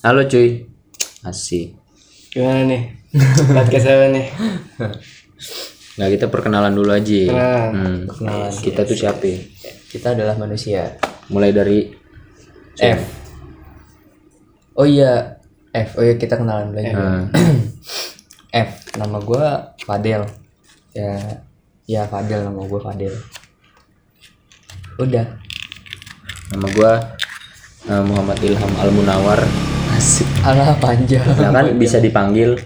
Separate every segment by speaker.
Speaker 1: Halo cuy. Asik.
Speaker 2: Gimana nih? Podcast apa nih?
Speaker 1: Nah, kita perkenalan dulu aja.
Speaker 2: Nah,
Speaker 1: Hmm.
Speaker 3: Perkenalan.
Speaker 1: Kita tuh siapa? ya?
Speaker 3: Kita adalah manusia.
Speaker 1: Mulai dari
Speaker 3: F. Oh iya, F. Oh iya kita kenalan dulu. aja.
Speaker 1: eh,
Speaker 3: F. Nama gua Fadel. Ya, ya Fadel nama gua Fadel. Udah.
Speaker 1: nama gua eh, Muhammad Ilham Al Munawar. Asik.
Speaker 3: Alah panjang.
Speaker 1: Nah, kan bisa dipanggil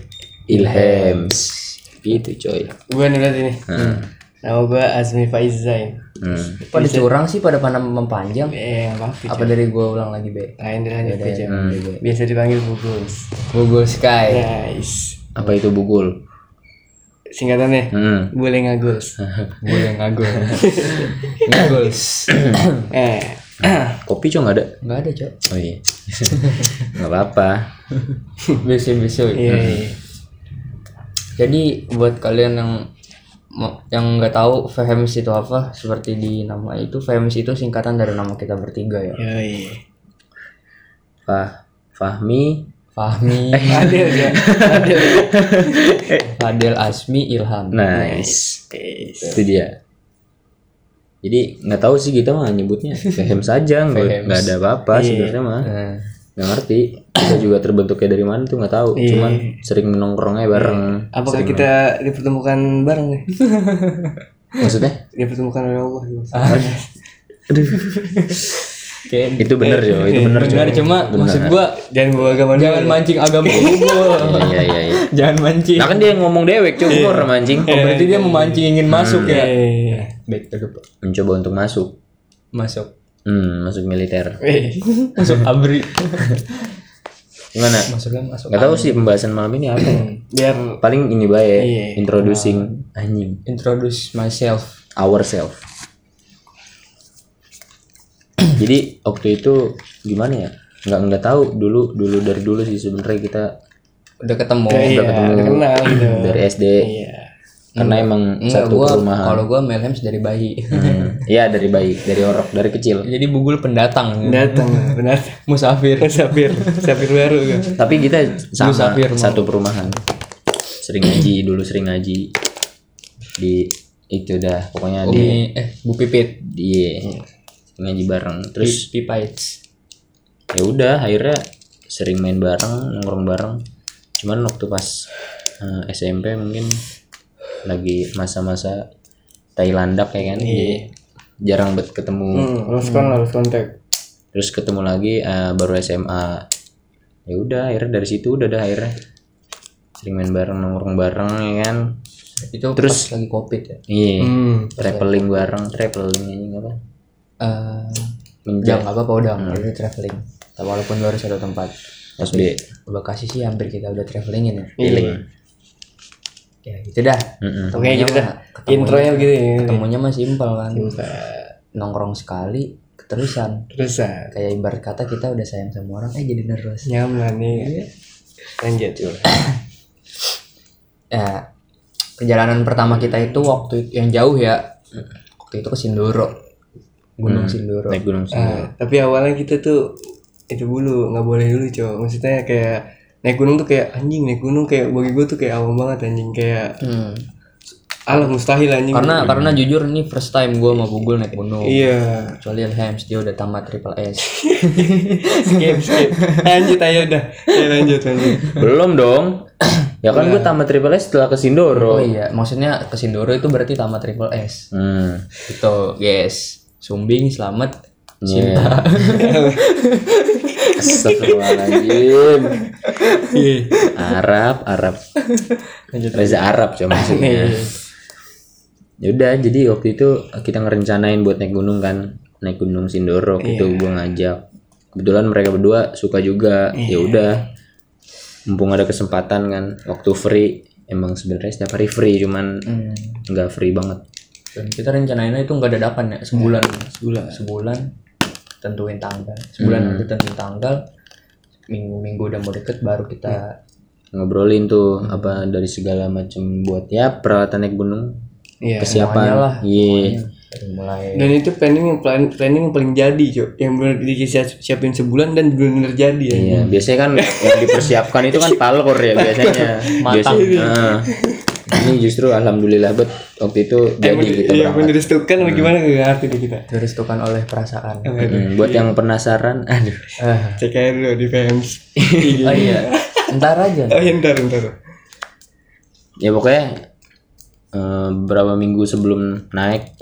Speaker 1: Ilhams. Gitu coy.
Speaker 2: Gue nih berarti nih.
Speaker 3: Hmm.
Speaker 2: Nama gue Azmi Faizain.
Speaker 1: Hmm.
Speaker 3: Pada curang sih pada panam mempanjang.
Speaker 2: Eh, apa apa?
Speaker 3: Apa dari gua ulang lagi, Be?
Speaker 2: Lain deh lanjut aja.
Speaker 3: Dari gue.
Speaker 2: Biasa dipanggil Bugus.
Speaker 3: Google Sky.
Speaker 2: Nice.
Speaker 1: Apa itu bugul?
Speaker 2: Singkatannya
Speaker 1: Hmm.
Speaker 2: boleh ngagus.
Speaker 3: Boleh ngagul. Ngaguls.
Speaker 2: Eh,
Speaker 1: Kopi coy nggak ada?
Speaker 3: Enggak ada, Cok.
Speaker 1: Oh iya. Nggak apa-apa.
Speaker 3: Biasa-biasa.
Speaker 2: iya. iya.
Speaker 3: Jadi buat kalian yang mau- yang nggak tahu FEMS itu apa, seperti di nama itu FEMS itu singkatan dari nama kita bertiga ya.
Speaker 2: Iya, iya.
Speaker 1: Fah Fahmi
Speaker 3: Fahmi,
Speaker 2: Ada ya. Ada.
Speaker 3: Fadel Asmi, Ilham.
Speaker 1: Nice. itu dia jadi nggak tahu sih kita mah nyebutnya fehem saja nggak
Speaker 3: Fehems.
Speaker 1: nggak ada apa-apa sebenarnya mah
Speaker 3: Nah,
Speaker 1: nggak ngerti kita juga terbentuknya dari mana tuh nggak tahu
Speaker 2: Iya.
Speaker 1: cuman sering nongkrongnya bareng
Speaker 2: Apakah kita dipertemukan bareng nih?
Speaker 3: Iya.
Speaker 1: maksudnya
Speaker 2: Dipertemukan oleh Allah.
Speaker 3: kayak
Speaker 1: itu bener yo itu bener
Speaker 3: benar ya. cuma maksud gua
Speaker 2: Jangan bawa agama dulu.
Speaker 3: jangan mancing agama kubur.
Speaker 1: iya iya iya
Speaker 3: jangan mancing.
Speaker 1: nah kan dia ngomong dewek
Speaker 3: Iya.
Speaker 1: cukur mancing
Speaker 3: Berarti dia memancing ingin masuk ya.
Speaker 2: Eh,
Speaker 3: Baik, terus
Speaker 1: mencoba untuk masuk
Speaker 3: masuk.
Speaker 1: hmm, masuk militer
Speaker 2: eh.
Speaker 3: Masuk abri.
Speaker 1: gimana
Speaker 3: Masuknya masuk.
Speaker 1: nggak tahu sih pembahasan malam ini apa
Speaker 2: Hmm. Biar
Speaker 1: paling ini bae
Speaker 2: Iya.
Speaker 1: introducing anjing
Speaker 3: Introduce myself.
Speaker 1: ourselves. Jadi waktu itu gimana ya? Nggak nggak tahu dulu dulu dari dulu sih sebenarnya kita
Speaker 3: Udah ketemu.
Speaker 2: iya, kenal gitu.
Speaker 1: dari SD
Speaker 2: Iya.
Speaker 1: karena emang
Speaker 3: Enggak,
Speaker 1: satu
Speaker 3: gua
Speaker 1: perumahan.
Speaker 3: kalau gua Melhems dari bayi.
Speaker 1: Hmm. Iya dari bayi dari orok dari kecil.
Speaker 2: Iya.
Speaker 3: Jadi bugul pendatang,
Speaker 2: Datang, benar.
Speaker 3: Nah. musafir.
Speaker 2: Sapir, sapir baru kan.
Speaker 1: Tapi kita sama
Speaker 3: Musafir, mau.
Speaker 1: satu perumahan. Sering ngaji dulu sering ngaji di itu dah pokoknya
Speaker 2: Oh,
Speaker 1: di
Speaker 2: iya.
Speaker 3: Ini eh Bu Pipit,
Speaker 1: di iya. ngaji bareng terus
Speaker 3: Pi- Pipites.
Speaker 1: ya udah akhirnya sering main bareng nongkrong bareng cuman waktu pas eh, SMP mungkin lagi masa-masa Thailandak ya kan Jadi jarang banget ketemu
Speaker 2: Iya. Hmm, lost contact, lost contact.
Speaker 1: terus ketemu lagi eh, baru SMA ya udah akhirnya dari situ udah dah akhirnya sering main bareng nongkrong bareng ya kan
Speaker 3: Itu terus lagi Covid ya.
Speaker 1: iya
Speaker 2: Hmm.
Speaker 1: traveling bareng traveling ini apa
Speaker 3: Eh udah
Speaker 2: Iya.
Speaker 1: menjak
Speaker 3: nggak apa-apa udah
Speaker 2: Hmm.
Speaker 3: udah traveling. Tapi walaupun baru satu tempat.
Speaker 2: Iya.
Speaker 1: SB
Speaker 3: Bekasi sih hampir kita udah travelingin ya.
Speaker 1: feeling
Speaker 3: Ya gitu dah.
Speaker 1: Mm-mm.
Speaker 2: Oke,
Speaker 3: Ketemunya
Speaker 2: gitu dah.
Speaker 3: mah- ketemunya-
Speaker 2: Intronya Iya. begitu ya.
Speaker 3: Ketemunya mah simpel kan.
Speaker 2: Buka.
Speaker 3: Nongkrong sekali keterusan.
Speaker 2: Terus ah,
Speaker 3: Kayak ibarat kata kita udah sayang sama orang eh jadi nervous.
Speaker 2: nyaman nih.
Speaker 3: Iya.
Speaker 2: Lanjut.
Speaker 3: Ah. Ya, perjalanan pertama kita itu waktu itu- yang jauh ya. Waktu itu ke Sindoro.
Speaker 2: Hmm.
Speaker 3: Gunung Sindoro.
Speaker 1: naik gunung sendiri
Speaker 2: Ah, tapi awalnya kita tuh itu dulu nggak boleh dulu cowok maksudnya kayak naik gunung tuh kayak anjing naik gunung kayak bagi gue tuh kayak awam banget anjing kayak
Speaker 3: Hmm.
Speaker 2: alah mustahil anjing
Speaker 3: karena karena jujur ini first time gue mau Google naik gunung
Speaker 2: iya
Speaker 3: kecuali Hams dia udah tamat triple S
Speaker 2: skip skip lanjut aja udah ya lanjut lanjut
Speaker 1: Belum dong. ya kan
Speaker 2: Iya.
Speaker 1: gue tamat triple S setelah ke
Speaker 3: oh
Speaker 1: Sindoro.
Speaker 3: iya maksudnya ke Sindoro itu berarti tamat triple S
Speaker 1: Hmm.
Speaker 3: gitu guys sumbing selamat
Speaker 1: Cinta. Astagfirullahaladzim. Arab, Arab. Reza Arab coba maksudnya. Yaudah, jadi waktu itu kita ngerencanain buat naik gunung kan, naik gunung Sindoro. Waktu Itu gue ngajak. Kebetulan mereka berdua suka juga. Ya udah, mumpung ada kesempatan kan, waktu free. Emang sebenarnya setiap hari free, cuman nggak free banget.
Speaker 3: Hmm. dan kita rencanainnya itu nggak dadakan ya sebulan
Speaker 2: sebulan
Speaker 3: sebulan tentuin tanggal sebulan nanti tentuin tanggal minggu minggu udah mau deket baru kita
Speaker 1: ngobrolin tuh apa dari segala macam buat ya peralatan naik gunung
Speaker 2: iya
Speaker 1: kesiapan
Speaker 3: semuanya lah,
Speaker 1: iya
Speaker 3: dari mulai
Speaker 2: dan itu planning yang plan, planning yang paling jadi cuy yang benar disiapin sebulan dan benar jadi ya
Speaker 1: Iya, biasanya kan yang dipersiapkan itu kan palkor ya biasanya.
Speaker 3: Matang. Iya.
Speaker 1: Biasanya, nah, ini justru alhamdulillah bet waktu itu jadi
Speaker 2: Emang-
Speaker 1: kita
Speaker 2: iya,
Speaker 1: berangkat.
Speaker 2: bener disetukan
Speaker 3: Hmm.
Speaker 2: apa gimana gak ngerti deh kita
Speaker 3: diristukan oleh perasaan
Speaker 1: Hmm, buat yang penasaran, aduh.
Speaker 3: Ah.
Speaker 2: cek aja dulu di PMS
Speaker 3: oh iya ntar aja
Speaker 2: oh ya ntar ntar
Speaker 1: Ya pokoknya eh, berapa minggu sebelum naik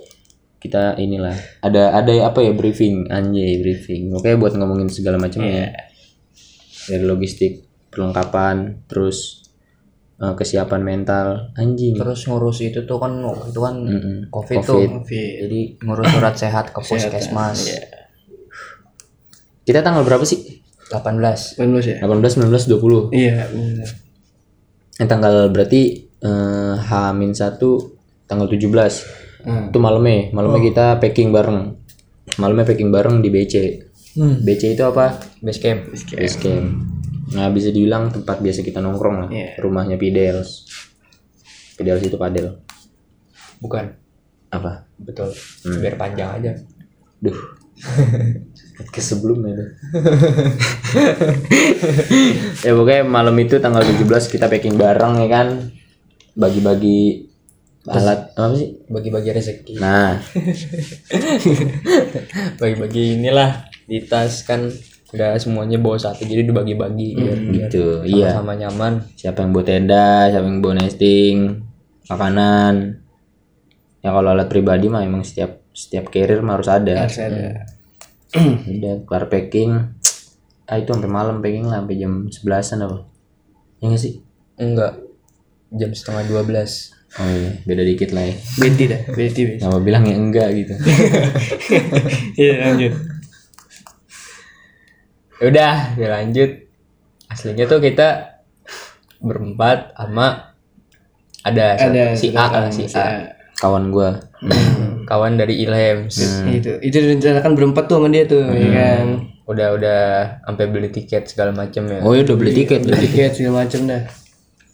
Speaker 1: kita inilah ada ada apa ya briefing anjay briefing. Oke buat ngomongin segala macamnya. Dari logistik, perlengkapan, terus eh, kesiapan mental, anjing.
Speaker 3: terus ngurus itu tuh kan waktu itu kan
Speaker 1: Mm-mm.
Speaker 3: covid,
Speaker 1: Covid.
Speaker 3: tuh jadi ngurus surat sehat ya. Iya. ke puskesmas
Speaker 1: Kita tanggal berapa sih?
Speaker 3: 18
Speaker 2: 18 ya
Speaker 1: 18, 19, 20.
Speaker 2: iya bener.
Speaker 1: Eh, tanggal berarti eh, H-1 tanggal 17.
Speaker 2: Hmm.
Speaker 1: Itu malamnya, malamnya kita packing bareng. Malamnya packing bareng di BC. BC itu apa?
Speaker 3: base camp
Speaker 1: Base camp. Nah, bisa dibilang tempat biasa kita nongkrong lah.
Speaker 2: Iya.
Speaker 1: Rumahnya Pidels. Pidels itu padel.
Speaker 3: bukan
Speaker 1: Apa?
Speaker 3: betul biar panjang aja
Speaker 1: Duh. Ke sebelumnya tuh. ya pokoknya malam itu tanggal 17 kita packing bareng ya kan. Bagi-bagi alat apa sih?
Speaker 3: bagi-bagi rezeki
Speaker 1: Nah,
Speaker 3: bagi-bagi inilah di tas kan nggak semuanya bawa satu jadi dibagi-bagi biar
Speaker 1: gitu.
Speaker 3: biar
Speaker 1: Iya.
Speaker 3: sama nyaman
Speaker 1: Siapa yang bawa tenda, siapa yang bawa nesting, makanan. Ya kalau alat pribadi mah emang setiap setiap carrier mah harus ada.
Speaker 2: Harus ada
Speaker 1: Udah kelar packing. Ah itu sampai malam packing lah sampai jam 11-an apa? Ya nggak sih?
Speaker 3: enggak jam setengah 12
Speaker 1: Oh iya, beda dikit lah ya.
Speaker 2: beti dah beti beti
Speaker 1: Kenapa bilang ya enggak gitu.
Speaker 2: iya lanjut
Speaker 3: Ya udah dilanjut aslinya tuh kita berempat sama ada,
Speaker 2: ada
Speaker 3: si A lah, si A
Speaker 1: Kawan gua
Speaker 3: kawan dari Ilhams
Speaker 1: Hmm.
Speaker 2: Nah, itu itu direncanakan berempat tuh sama dia tuh ya
Speaker 3: Hmm.
Speaker 2: kan
Speaker 3: udah udah sampai beli tiket segala macem ya
Speaker 1: Oh iya udah beli tiket.
Speaker 2: Beli tiket segala macem dah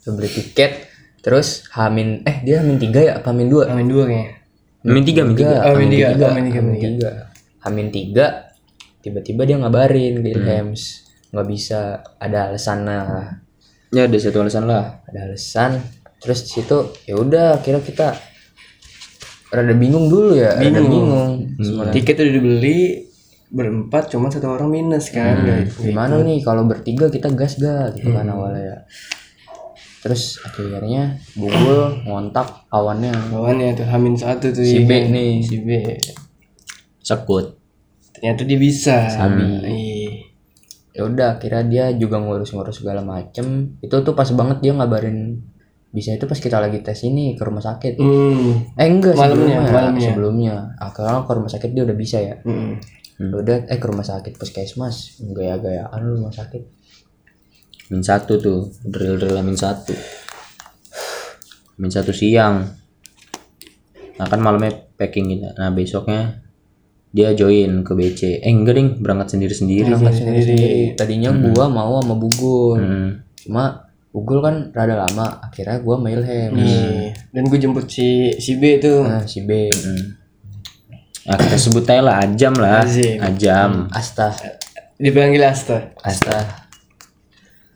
Speaker 3: Udah beli tiket terus Hamin eh dia Hamin tiga ya apa Hamin dua
Speaker 2: amin dua kayaknya
Speaker 1: Min tiga, min tiga.
Speaker 2: amin Oh, tiga amin tiga
Speaker 3: Hamin tiga Hamin tiga tiba-tiba dia ngabarin
Speaker 2: Hmm.
Speaker 3: ke Ilhams nggak bisa ada alasan lah
Speaker 1: Ya ada satu alasan lah.
Speaker 3: ada alasan terus di situ ya udah akhirnya kita rada bingung dulu ya rada
Speaker 2: Bingung.
Speaker 3: bingung
Speaker 2: Nah. tiket udah dibeli berempat cuman satu orang minus
Speaker 3: Hmm.
Speaker 2: kan guys
Speaker 3: gimana nih kalau bertiga kita gas ga gitu
Speaker 2: Hmm.
Speaker 3: kan awalnya ya terus akhirnya Bungul ngontak kawannya
Speaker 2: kawannya tuh hamin satu tuh ya
Speaker 3: si B
Speaker 2: kan?
Speaker 3: nih
Speaker 2: si B
Speaker 1: Sekut.
Speaker 2: ternyata dia bisa Iya.
Speaker 3: ya udah akhirnya dia juga ngurus-ngurus segala macem itu tuh pas banget dia ngabarin bisa itu pas kita lagi tes ini ke rumah sakit
Speaker 2: hmm.
Speaker 3: eh enggak
Speaker 2: Malamnya,
Speaker 3: sebelumnya
Speaker 2: malamnya.
Speaker 3: sebelumnya akhirnya ke rumah sakit dia udah bisa ya
Speaker 2: Mm-mm.
Speaker 3: udah eh ke rumah sakit puskesmas gaya-gayaan lu rumah sakit
Speaker 1: Min satu tuh. Drill-drill min satu. Min satu siang. Nah kan malamnya packing kita. Nah besoknya dia join ke BC. Eh enggak ding, berangkat sendiri-sendiri.
Speaker 3: berangkat sendiri tadinya gua mau sama Bugul
Speaker 1: Hmm.
Speaker 3: cuma Bugul kan rada lama akhirnya gua sama Ilham
Speaker 2: Iya. dan gue jemput si si B tuh
Speaker 3: nah, si B
Speaker 1: Nah, Hmm. kita sebut aja lah Ajam lah.
Speaker 2: Azim.
Speaker 1: Ajam.
Speaker 3: Asta
Speaker 2: dipanggil Asta
Speaker 3: Asta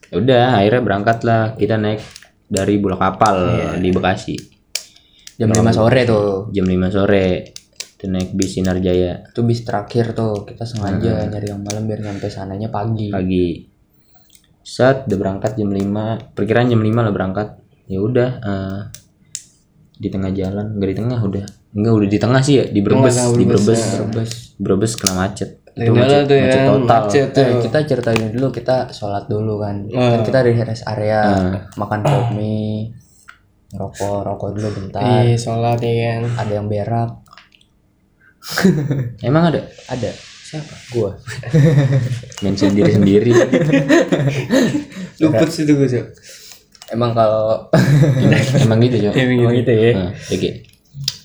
Speaker 1: Ya Udah akhirnya berangkat lah. Kita naik dari bulak kapal di Bekasi.
Speaker 3: jam 5 sore tuh
Speaker 1: Jam 5 sore. Kita naik bis Sinar Jaya
Speaker 3: itu bis terakhir tuh kita sengaja nyari yang malam biar nyampe sananya pagi
Speaker 1: pagi. Set udah berangkat jam 5. Perkiraan jam 5 lah berangkat. Ya udah eh, di tengah jalan, enggak di tengah udah. Enggak udah di tengah sih ya, di Brebes,
Speaker 2: tengah
Speaker 1: di
Speaker 2: Brebes,
Speaker 1: Brebes.
Speaker 2: ya.
Speaker 1: Brebes. Brebes kena macet. Itu
Speaker 2: Kendala
Speaker 1: macet,
Speaker 2: tuh ya
Speaker 1: macet total.
Speaker 2: macet tuh.
Speaker 3: Eh, kita ceritain dulu kita sholat dulu kan Kan kita dari rest area makan kopi ngerokok rokok dulu bentar
Speaker 2: Iya, sholat ya kan.
Speaker 3: ada yang berak
Speaker 1: Emang ada
Speaker 3: ada siapa gua
Speaker 1: main sendiri-sendiri.
Speaker 2: Luput situ gue Cok.
Speaker 3: emang kalau
Speaker 1: Emang gitu, Cok.
Speaker 2: Iya,
Speaker 3: emang gitu ya
Speaker 1: Nah, oke.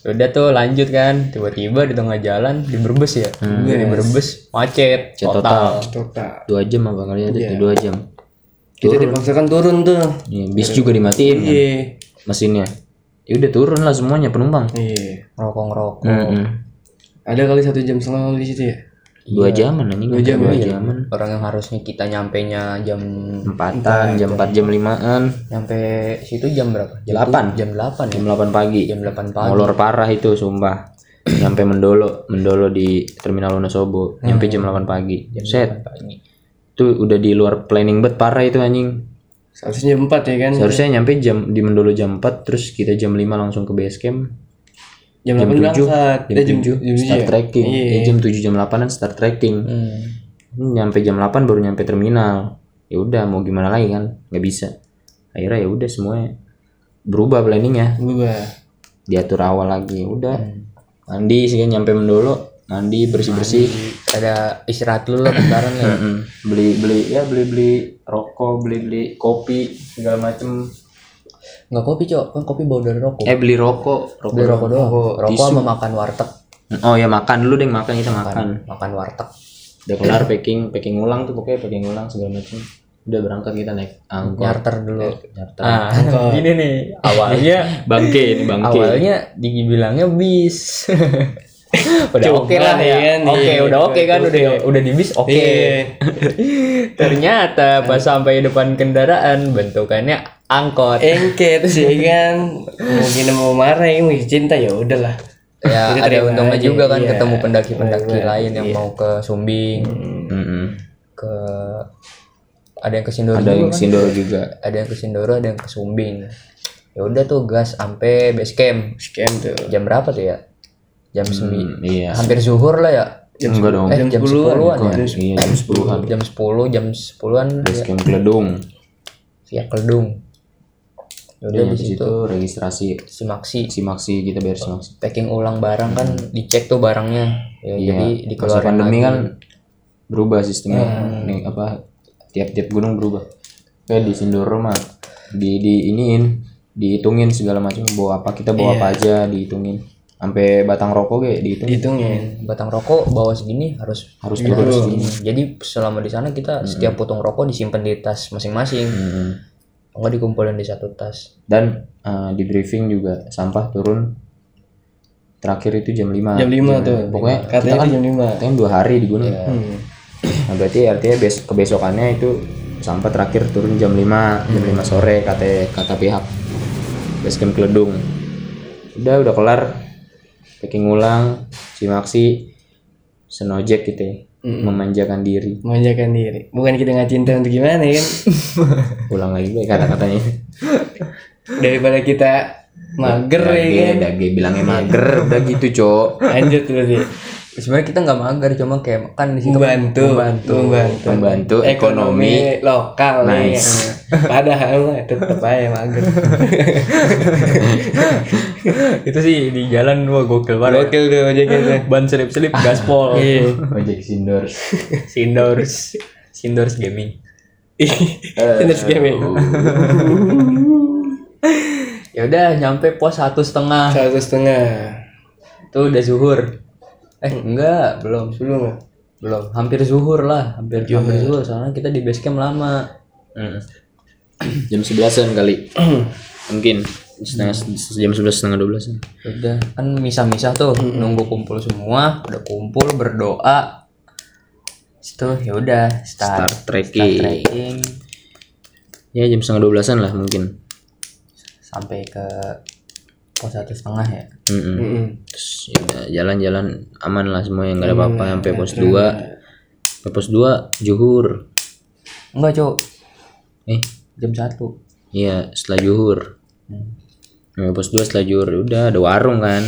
Speaker 3: udah tuh lanjut kan tiba-tiba di tengah jalan di Brebes ya
Speaker 2: Hmm.
Speaker 3: di Brebes macet
Speaker 1: Macet total.
Speaker 2: Iya, Total. Iya.
Speaker 1: Dua jam apa kali ada? Dua jam.
Speaker 2: Kita dipaksakan turun tuh.
Speaker 1: Iya, bis juga dimatiin kan,
Speaker 2: Iya.
Speaker 1: mesinnya. Ya udah turun lah semuanya penumpang.
Speaker 2: Iya.
Speaker 3: ngerokok ngerokok
Speaker 1: Mm-mm.
Speaker 2: Ada kali satu jam setengah kali di situ ya?
Speaker 1: dua jaman anjing
Speaker 2: Dua jam,
Speaker 1: dua
Speaker 2: iya.
Speaker 1: jaman
Speaker 3: orang yang harusnya kita nyampe nya jam
Speaker 1: empatan jam empat jam limaan
Speaker 3: nyampe situ jam berapa? Jam
Speaker 1: Delapan.
Speaker 3: tu- Jam 8 ya.
Speaker 1: jam delapan pagi
Speaker 3: Jam 8 pagi.
Speaker 1: molor parah itu sumpah nyampe mendolo mendolo di terminal Wonosobo nyampe jam 8 pagi set
Speaker 3: Pagi.
Speaker 1: tuh udah di luar planning bet parah itu anjing
Speaker 2: Seharusnya jam empat ya kan?
Speaker 1: seharusnya nyampe jam di mendolo jam 4 terus kita jam 5 langsung ke base camp
Speaker 2: Jam
Speaker 1: jam
Speaker 2: delapan
Speaker 1: 7
Speaker 2: berangkat.
Speaker 1: jam
Speaker 2: Eh, jam
Speaker 1: 7
Speaker 2: jam tujuh
Speaker 1: start
Speaker 2: ya?
Speaker 1: trekking
Speaker 2: Iya.
Speaker 1: Eh, jam 7 jam 8an start trekking
Speaker 3: Hmm.
Speaker 1: Hmm, nyampe jam 8 baru nyampe terminal ya udah mau gimana lagi kan nggak bisa akhirnya ya udah semuanya berubah planningnya
Speaker 2: Berubah.
Speaker 1: diatur awal lagi Ya udah mandi sih kan, nyampe mendolo mandi bersih bersih
Speaker 3: Ada istirahat dulu lah bentaran lah. ya.
Speaker 1: Hmm. beli beli ya beli beli rokok beli beli kopi segala macem
Speaker 3: Enggak kopi, Cok. Kan kopi bau dari rokok.
Speaker 1: eh beli rokok rokok
Speaker 3: Beli rokok doang. Rokok
Speaker 1: tisu.
Speaker 3: sama makan warteg.
Speaker 1: oh ya makan dulu deh makan kita makan
Speaker 3: Makan warteg.
Speaker 1: udah kelar packing packing ulang tuh pokoknya packing ulang segala macem udah berangkat kita naik angkot
Speaker 3: Nyarter dulu.
Speaker 1: nyarter
Speaker 3: Ah, ini nih awalnya
Speaker 1: bangke ini bangke
Speaker 3: awalnya dibilangnya bis. udah
Speaker 2: Coba
Speaker 3: oke lah ya.
Speaker 2: kan,
Speaker 3: Oke,
Speaker 2: iya.
Speaker 3: udah oke kan udah udah di bis oke.
Speaker 2: Iya.
Speaker 3: Ternyata pas sampai depan kendaraan bentukannya angkot.
Speaker 2: Eh, Engket sih kan. Mungkin mau marah ya, mungkin cinta ya udahlah.
Speaker 3: ya
Speaker 2: Jadi
Speaker 3: ada
Speaker 2: terima
Speaker 3: untungnya
Speaker 2: aja,
Speaker 3: juga kan
Speaker 2: iya.
Speaker 3: ketemu pendaki-pendaki
Speaker 2: Benar,
Speaker 3: lain yang mau ke Sumbing,
Speaker 1: Mm-mm.
Speaker 3: ke ada yang ke Sindoro
Speaker 1: ada
Speaker 3: juga
Speaker 1: yang
Speaker 3: kan?
Speaker 1: sindoro juga
Speaker 3: ada yang ke Sindoro, ada yang ke Sumbing. Ya udah tuh gas sampai base camp.
Speaker 2: Scam tuh.
Speaker 3: Jam berapa tuh ya? Jam sembilan
Speaker 1: Hmm, iya
Speaker 3: hampir zuhur lah ya.
Speaker 1: enggak dong
Speaker 3: Eh, jam
Speaker 2: 10-an,
Speaker 3: 10-an ya.
Speaker 1: Kok- iya jam sepuluhan
Speaker 3: Jam 10, jam 10-an
Speaker 1: base camp Gledung
Speaker 3: ya keledung. Ya
Speaker 1: udah
Speaker 3: Udah di
Speaker 1: Iya, di situ
Speaker 3: situ
Speaker 1: registrasi
Speaker 3: si Maxi
Speaker 1: simaksi kita bayar simaksi
Speaker 3: packing ulang barang kan dicek tuh barangnya. Ya, jadi
Speaker 1: iya masa
Speaker 3: dikeluarin
Speaker 1: pandemi
Speaker 3: lagi. Hmm.
Speaker 1: kan berubah sistemnya nih apa tiap-tiap gunung berubah kayak di sindoro mah di di iniin dihitungin segala macam bawa apa kita bawa apa
Speaker 3: Iya.
Speaker 1: aja dihitungin sampai batang rokok kayak dihitung
Speaker 2: Hitungin.
Speaker 3: batang rokok bawa segini harus
Speaker 1: harus turun segini
Speaker 3: Jadi selama di sana kita setiap potong rokok disimpan di tas masing-masing.
Speaker 1: Mm-mm.
Speaker 3: Enggak dikumpulin di satu tas.
Speaker 1: dan eh, di briefing juga sampah turun terakhir itu jam 5
Speaker 2: Jam 5 tuh. Iya.
Speaker 1: pokoknya
Speaker 2: Katanya
Speaker 1: kita
Speaker 2: tuh
Speaker 1: kan
Speaker 2: jam 5.
Speaker 1: katanya dua hari di gunung
Speaker 2: Hmm.
Speaker 1: nah, berarti artinya bes kebesokannya itu sampah terakhir turun jam 5 jam
Speaker 2: Hmm.
Speaker 1: 5 sore kata kata pihak basecamp Kledung udah udah kelar packing ulang simaksi senojek gitu ya
Speaker 2: Hmm.
Speaker 1: memanjakan diri
Speaker 2: Memanjakan diri. Bukan kita nggak cinta untuk gimana ya kan?
Speaker 1: ulang lagi deh kata-katanya
Speaker 2: Daripada kita mager ya
Speaker 1: dage
Speaker 2: kan.
Speaker 1: dage bilangnya mager udah gitu cok
Speaker 2: Lanjut berarti.
Speaker 3: Sebenarnya kita nggak mager, cuma kayak kan di situ kan
Speaker 2: Membantu. Membantu.
Speaker 1: membantu ekonomi
Speaker 2: Ekonomi lokal nih.
Speaker 1: Nice.
Speaker 2: Padahal mah tetep aja mager.
Speaker 3: itu sih di jalan gua Kan, gokil
Speaker 2: Gokil tuh ojeknya tuh.
Speaker 3: Ban selip-selip gaspol.
Speaker 1: ojek sindor
Speaker 3: Sindors. Sindors gaming. Eh.
Speaker 2: Sinners Gaming.
Speaker 3: Ya udah nyampe pos satu setengah.
Speaker 2: Satu setengah.
Speaker 3: Tuh udah zuhur. Eh enggak, belum.
Speaker 2: Belum ya?
Speaker 3: Belum. Hampir zuhur lah, hampir hampir zuhur soalnya kita di base camp lama. Hmm.
Speaker 1: jam sebelasan kali mungkin setengah jam sebelas setengah dua belas
Speaker 3: udah kan misah-misah tuh nunggu kumpul semua udah kumpul berdoa itu ya udah start,
Speaker 1: start trekking
Speaker 3: trekking
Speaker 1: ya jam setengah dua belasan lah mungkin
Speaker 3: sampai ke pos satu setengah ya
Speaker 1: Mm-mm.
Speaker 2: Mm-mm.
Speaker 1: Terus ya, jalan-jalan aman lah semua yang nggak ada apa-apa sampai pos dua sampai pos dua juhur
Speaker 3: enggak cok
Speaker 1: eh
Speaker 3: jam satu
Speaker 1: iya setelah juhur sampai pos dua setelah juhur udah ada warung kan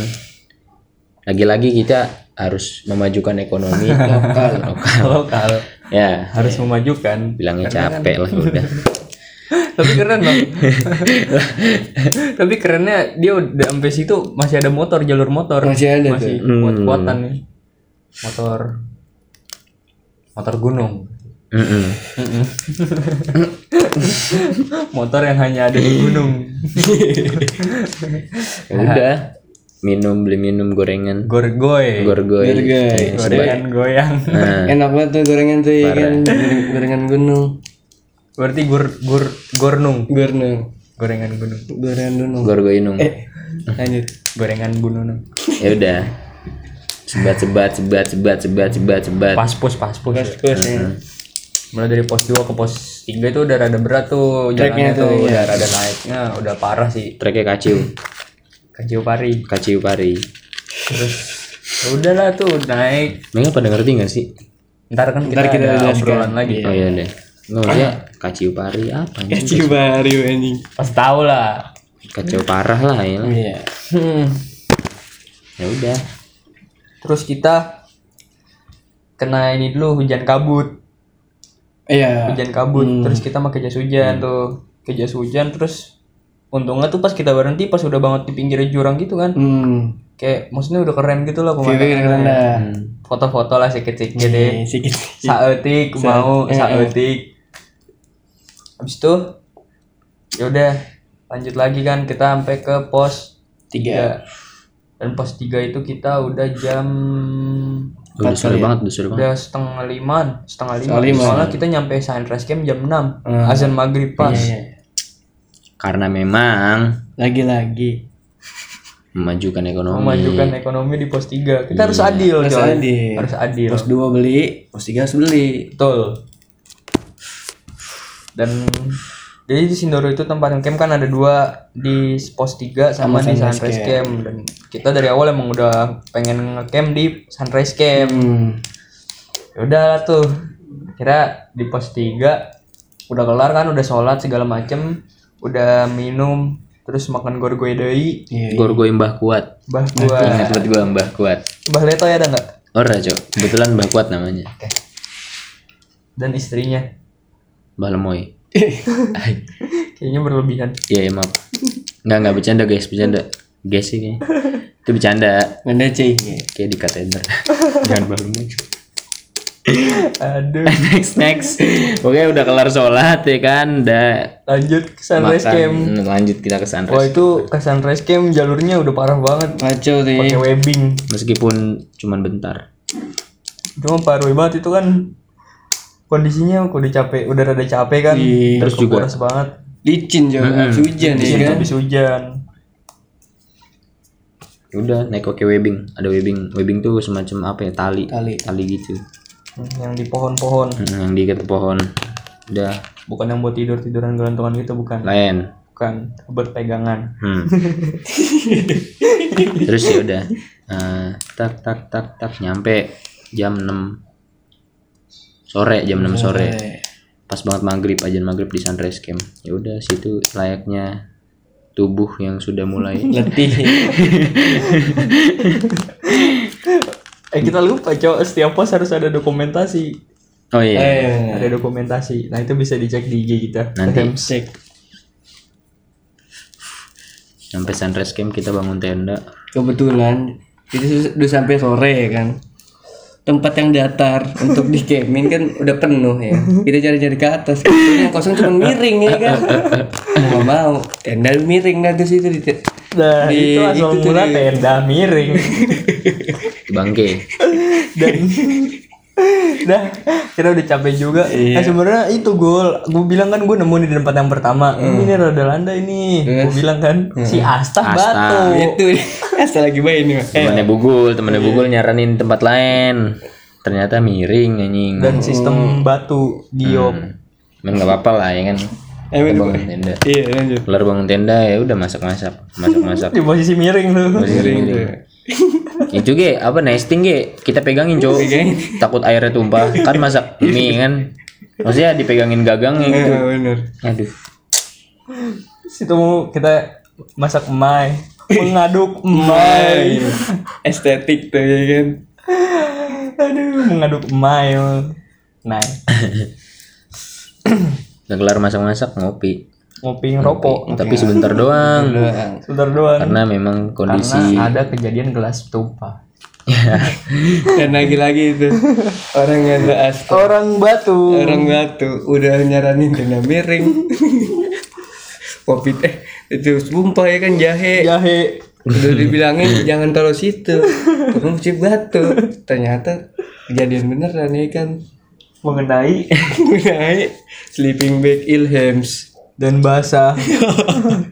Speaker 1: lagi-lagi kita harus memajukan ekonomi lokal lokal
Speaker 3: lokal
Speaker 1: ya
Speaker 3: harus memajukan
Speaker 1: bilangnya capek lah udah
Speaker 3: tapi keren bang tapi kerennya dia udah sampai situ masih ada Hmm. motor jalur motor
Speaker 2: Masih ada
Speaker 3: masih kuat-kuatan nih motor motor gunung
Speaker 1: Mm-mm.
Speaker 3: motor yang hanya ada di gunung
Speaker 1: ya udah minum beli minum gorengan
Speaker 3: gorgoy
Speaker 1: gorgoy
Speaker 2: Bener, guys.
Speaker 3: gorengan goyang
Speaker 1: nah
Speaker 2: Enak banget tuh gorengan tuh ya kan. Goreng- Gorengan gunung.
Speaker 3: berarti gur gur gornung
Speaker 2: Gorengan.
Speaker 3: gorengan gunung
Speaker 2: Gorengan gunung.
Speaker 1: gorgoy nung
Speaker 2: Lanjut.
Speaker 3: gorengan bununung
Speaker 1: ya udah sebat sebat sebat sebat sebat sebat sebat
Speaker 3: pas pus pas pus
Speaker 2: Terus terus
Speaker 1: Nah.
Speaker 2: ya.
Speaker 3: mulai dari pos 2 ke pos 3 itu udah rada berat tuh
Speaker 2: Treknya
Speaker 3: jalannya tuh,
Speaker 2: tuh, iya.
Speaker 3: udah rada naiknya udah parah sih
Speaker 1: treknya kaciu
Speaker 3: kecil pari
Speaker 1: kaciu pari
Speaker 3: terus ya udahlah tuh naik
Speaker 1: Mereka pada ngerti gak sih?
Speaker 3: ntar kan kita,
Speaker 2: Ntar kita
Speaker 3: ada
Speaker 2: jelaskan.
Speaker 3: obrolan lagi
Speaker 1: Oh iya deh Nggak maksudnya kaciu pari apa anjing?
Speaker 2: Kecil baru Eh, anjing.
Speaker 3: pas tahu lah
Speaker 1: Kacau parah lah ya lah.
Speaker 2: Iya.
Speaker 3: Hmm.
Speaker 1: Ya udah
Speaker 3: terus kita kena ini dulu hujan kabut
Speaker 2: Iya.
Speaker 3: hujan kabut terus kita pakai jas hujan
Speaker 2: Hmm.
Speaker 3: tuh ke jas hujan terus untungnya tuh pas kita berhenti pas udah banget di pinggir jurang gitu kan
Speaker 2: Hmm.
Speaker 3: kayak maksudnya udah keren gitu lah
Speaker 2: View
Speaker 3: pemandangan
Speaker 2: keren Iya. dah.
Speaker 1: Hmm.
Speaker 3: foto-foto lah sedikit sedikit deh
Speaker 2: Nih, Eh, Sikit.
Speaker 3: saeutik mau
Speaker 2: Eh,
Speaker 3: saeutik habis itu ya udah lanjut lagi kan kita sampai ke pos
Speaker 2: Tiga.
Speaker 3: tiga dan pos tiga itu kita udah jam
Speaker 1: Udah sore banget Udah sore banget
Speaker 3: udah setengah lima setengah lima,
Speaker 2: Setengah lima.
Speaker 3: soalnya kita nyampe sunrise camp jam 6 azan maghrib pas
Speaker 2: Iya.
Speaker 1: Karena memang
Speaker 2: Lagi-lagi.
Speaker 1: Memajukan
Speaker 2: iya.
Speaker 1: ekonomi
Speaker 3: memajukan ekonomi di pos tiga kita harus adil
Speaker 2: Harus
Speaker 3: coy.
Speaker 2: adil.
Speaker 3: harus adil
Speaker 2: Pos dua beli, pos tiga harus beli.
Speaker 3: Betul. Dan jadi di Sindoro itu tempat camp kan ada dua di pos 3 sama, di sunrise camp. dan kita dari awal emang udah pengen ngecamp di sunrise camp.
Speaker 2: Hmm.
Speaker 3: Ya udah lah tuh. Kira di pos 3 udah kelar kan udah sholat segala macem udah minum terus makan gorgoy deui
Speaker 2: Iya.
Speaker 1: Gorgoy mbah kuat
Speaker 3: bah gua
Speaker 1: Ingat buat gua mbah kuat
Speaker 3: bah leto ya ada nggak
Speaker 1: Ora cok Kebetulan mbah kuat namanya
Speaker 3: dan istrinya
Speaker 1: Mbah lemoy
Speaker 3: kayaknya berlebihan
Speaker 1: Iya ya maaf Enggak enggak bercanda guys Bercanda Guys sih kayaknya Itu bercanda
Speaker 2: Ngedece.
Speaker 1: Kayak di katedral Jangan mbah lemoy
Speaker 3: aduh
Speaker 1: Next next Oke udah kelar sholat ya kan Udah
Speaker 3: lanjut ke sunrise camp
Speaker 1: makan Lanjut kita ke
Speaker 3: Wah
Speaker 1: sunrise
Speaker 3: itu ke Sunrise Camp jalurnya udah parah banget
Speaker 2: Kacau tuh.
Speaker 3: pakai
Speaker 2: ya.
Speaker 3: webbing.
Speaker 1: Meskipun cuman bentar
Speaker 3: Cuma parah banget itu kan kondisinya aku udah capek, udah rada capek kan.
Speaker 2: Iya.
Speaker 1: Terus juga
Speaker 3: Kepuras banget.
Speaker 2: Licin jauh habis hujan ya
Speaker 3: Iya,
Speaker 2: kan.
Speaker 3: habis hujan.
Speaker 1: ya udah naik ke webbing ada webbing webbing tuh semacam apa ya tali
Speaker 2: Tali.
Speaker 1: tali gitu
Speaker 3: Hmm, Yang di pohon-pohon,
Speaker 1: Mm, yang diikat ke pohon udah
Speaker 3: bukan yang buat tidur-tiduran gelantungan gitu bukan.
Speaker 1: lain
Speaker 3: Bukan buat pegangan.
Speaker 1: hmm. terus ya udah Eh, tak tak tak tak nyampe jam 6 sore jam 6 sore
Speaker 2: Eh,
Speaker 1: pas banget maghrib aja maghrib di sunrise camp ya udah situ layaknya tubuh yang sudah mulai
Speaker 2: Letih.
Speaker 3: Eh kita lupa, Cok, setiap pos harus ada dokumentasi.
Speaker 1: oh iya
Speaker 2: Eh.
Speaker 3: Ada dokumentasi. Nah, itu bisa dicek di IG kita.
Speaker 1: nanti
Speaker 2: Cek.
Speaker 1: sampai sunrise camp kita bangun tenda
Speaker 2: kebetulan itu udah sampai sore ya kan tempat yang datar untuk di camping kan udah penuh ya kita cari-cari ke atas Kebetulan yang kosong cuma miring ya kan mau nggak mau tenda miring nah terus itu di
Speaker 3: Nah,
Speaker 2: Di-
Speaker 3: itu
Speaker 2: itu
Speaker 3: asal mula
Speaker 2: di-
Speaker 3: tenda miring.
Speaker 1: bangke
Speaker 3: dan dah kita udah capek juga eh sebenarnya itu gol gue bilang kan gue nemu di tempat yang pertama ini rada landa ini gue bilang kan si Asta batu
Speaker 2: itu asal lagi main nih Mas. eh,
Speaker 1: temannya bugul temannya bugul nyaranin tempat lain ternyata miring anjing
Speaker 3: dan sistem batu giok
Speaker 1: men nggak apa-apa lah ya kan Kita
Speaker 2: eh, bener.
Speaker 1: bangun tenda
Speaker 2: iya lanjut
Speaker 1: kelar bangun tenda ya udah masak masak masak masak
Speaker 3: di posisi miring tuh
Speaker 2: miring tuh
Speaker 1: itu ge apa nesting ge kita pegangin cowok takut airnya tumpah kan masak mie kan maksudnya dipegangin gagangnya gitu
Speaker 2: Iya, bener
Speaker 1: aduh
Speaker 3: situ mau kita masak emai mengaduk emai
Speaker 2: Iya. estetik tuh ya kan
Speaker 3: aduh mengaduk emai nah
Speaker 1: nggak kelar masak masak ngopi
Speaker 3: ngopi ngerokok
Speaker 1: tapi sebentar doang
Speaker 2: doang
Speaker 3: sebentar doang
Speaker 1: karena memang kondisi
Speaker 3: karena ada kejadian gelas tumpah
Speaker 2: dan lagi-lagi itu orang yang gak asal
Speaker 3: orang batu
Speaker 2: orang batu udah nyaranin tenda miring kopi teh itu sumpah ya kan jahe
Speaker 3: jahe
Speaker 2: udah dibilangin jangan taruh situ terus si batu ternyata kejadian beneran ya kan
Speaker 3: mengenai
Speaker 2: mengenai sleeping bag Ilhams
Speaker 3: dan basah.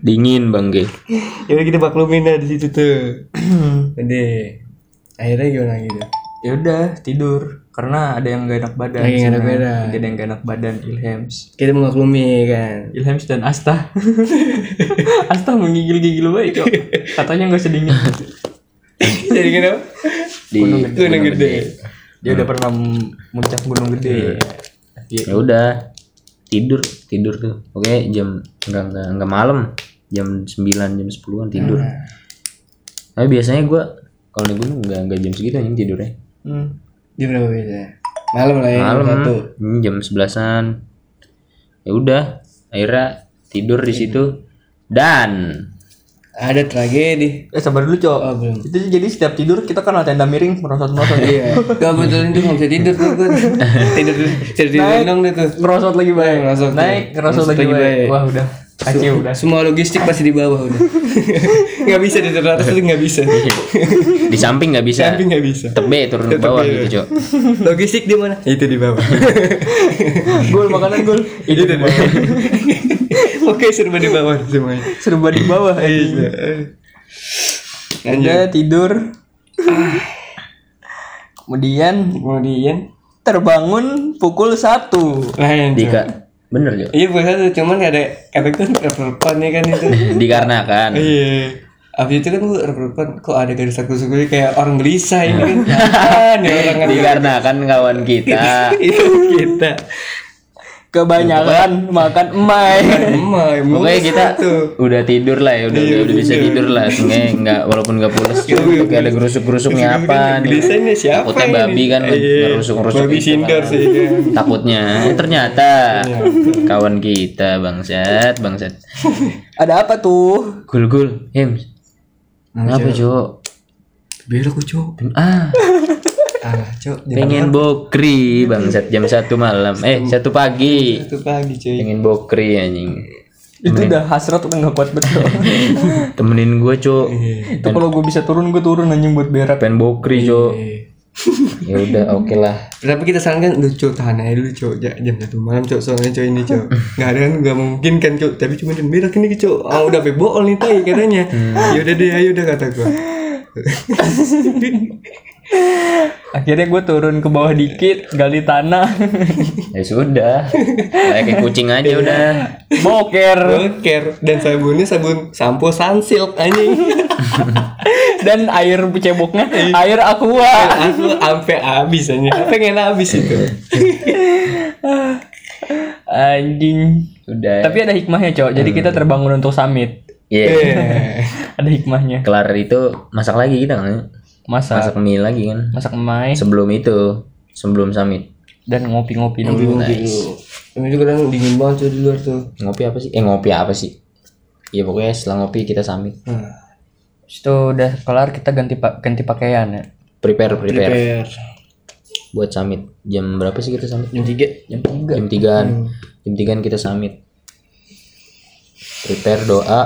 Speaker 1: dingin bang ge
Speaker 2: ya udah kita baklumin dah di situ tuh gede akhirnya gimana gitu
Speaker 3: ya udah tidur karena ada yang gak enak badan
Speaker 2: Lagi nggak ada
Speaker 3: sana.
Speaker 2: beda
Speaker 3: Lagi ada yang gak enak badan Ilhams
Speaker 2: kita mengaklumi kan
Speaker 3: Ilhams dan Asta Asta menggigil-gigil baik kok katanya gak sedingin
Speaker 2: jadi kenapa
Speaker 1: di
Speaker 3: Gunung
Speaker 2: itu yang gede
Speaker 3: dia udah pernah muncak gunung gede
Speaker 1: ya udah tidur tidur tuh oke jam enggak enggak enggak malam jam 9 jam 10-an tidur
Speaker 2: Ah.
Speaker 1: tapi biasanya gua kalau naik gunung enggak enggak jam segitu anjing tidurnya
Speaker 3: Hmm.
Speaker 2: jam berapa biasanya malam lah ya
Speaker 1: malam
Speaker 2: satu
Speaker 1: hmm, jam 11-an ya udah akhirnya tidur di situ dan
Speaker 2: ada tragedi
Speaker 3: Eh sabar dulu cok.
Speaker 2: Oh, belum.
Speaker 3: Itu jadi setiap tidur kita kan latihan tenda miring merosot merosot.
Speaker 2: iya gak betul itu nggak bisa tidur tuh gue tidur dulu tidur di dong deh tuh
Speaker 3: ngerosot lagi baik.
Speaker 2: Ngerosot.
Speaker 3: Naik ngerosot lagi, baik. Wah udah kacau udah.
Speaker 2: semua logistik pasti di bawah udah nggak bisa di atas itu nggak bisa
Speaker 1: di samping nggak bisa
Speaker 2: tapi nggak bisa
Speaker 1: tebe turun ke bawah gitu cok
Speaker 2: logistik di mana itu di bawah
Speaker 3: gol makanan gol. Iya, Itu di bawah.
Speaker 2: oke serba di bawah semuanya
Speaker 3: Serba di bawah. anjing. Udah tidur. Ah. Kemudian
Speaker 2: kemudian
Speaker 3: terbangun pukul satu.
Speaker 2: lain
Speaker 1: dika bener cok
Speaker 2: iya bukan satu cuman nggak ada kata kan rep-repan ya kan itu
Speaker 1: dikarenakan
Speaker 2: iya Abis itu kan gue rep-repan kok ada garis aku sungguh kayak orang gelisah ini kan Apaan ya orang nggak-
Speaker 1: dikarenakan kawan kita
Speaker 2: Iya, kita
Speaker 3: Kebanyakan makan emai.
Speaker 2: emang
Speaker 1: Pokoknya kita
Speaker 2: tuh
Speaker 1: udah tidur lah ya, udah
Speaker 2: Iya,
Speaker 1: udah, udah bisa tidur lah. Sungai nggak walaupun nggak pules, nggak
Speaker 2: iya.
Speaker 1: ada gerusuk-gerusuk nih apa? nih.
Speaker 2: Gelisahnya iya. siapa
Speaker 1: Takutnya
Speaker 2: ini?
Speaker 1: babi kan
Speaker 2: Iya,
Speaker 1: ngerusuk-ngerusuk
Speaker 2: babi
Speaker 1: gitu
Speaker 2: sindor
Speaker 1: kan.
Speaker 2: sih kan.
Speaker 1: Takutnya eh, ternyata kawan kita bangsat bangsat. Eh,
Speaker 3: Ada apa tuh?
Speaker 1: Gul gul, him. Kenapa Jo?
Speaker 2: Belok ku, Cok.
Speaker 1: Ah,
Speaker 2: Alah, Cok. Jam
Speaker 1: pengen bokri bangsat jam satu malam. Eh, satu pagi.
Speaker 2: satu pagi, cuy.
Speaker 1: Pengen bokri anjing.
Speaker 3: Itu udah hasrat udah nggak kuat betul.
Speaker 1: Temenin gue, Cok.
Speaker 3: Itu kalau gue bisa turun gue turun anjing buat berak.
Speaker 1: Pengen bokri, Cok. Ya udah, oke lah.
Speaker 2: Tapi kita sarankan lu Cok, tahan aja dulu Cok. Ja- Jam satu malam Cok, soalnya Cok ini Cok. Enggak ada kan enggak mungkin kan Cok. Tapi cuma jam berak ini Cok. Ah udah bebol nih tai katanya.
Speaker 3: Hmm.
Speaker 2: Ya udah deh, ayo udah kata gua.
Speaker 3: Akhirnya gue turun ke bawah dikit, gali tanah.
Speaker 1: Ya sudah. Kayak kayak kucing aja udah.
Speaker 3: boker
Speaker 2: Boker dan sabunnya sabun sampo sunsilk anjing.
Speaker 3: dan air ceboknya air aqua
Speaker 2: aku ampe habis aja pengen habis itu
Speaker 3: anjing
Speaker 1: Udah.
Speaker 3: tapi ada hikmahnya cok jadi kita terbangun untuk summit
Speaker 1: Iya.
Speaker 3: ada hikmahnya
Speaker 1: Kelar itu masak lagi kita kan.
Speaker 3: masak
Speaker 1: Masak mie lagi kan.
Speaker 3: masak emai
Speaker 1: Sebelum itu, sebelum summit.
Speaker 3: dan ngopi-ngopi dulu
Speaker 2: dulu itu kadang dingin banget tuh di luar tuh
Speaker 1: Ngopi apa sih? Eh ngopi apa sih? Ya pokoknya setelah ngopi kita summit.
Speaker 3: Hmm. Habis itu udah kelar kita ganti pa- ganti pakaian ya
Speaker 1: Prepare, prepare
Speaker 2: per
Speaker 1: buat summit. Jam berapa sih kita summit?
Speaker 2: jam tiga
Speaker 1: Jam 3. Jam 3-an. Jam 3-an kita summit. Prepare doa.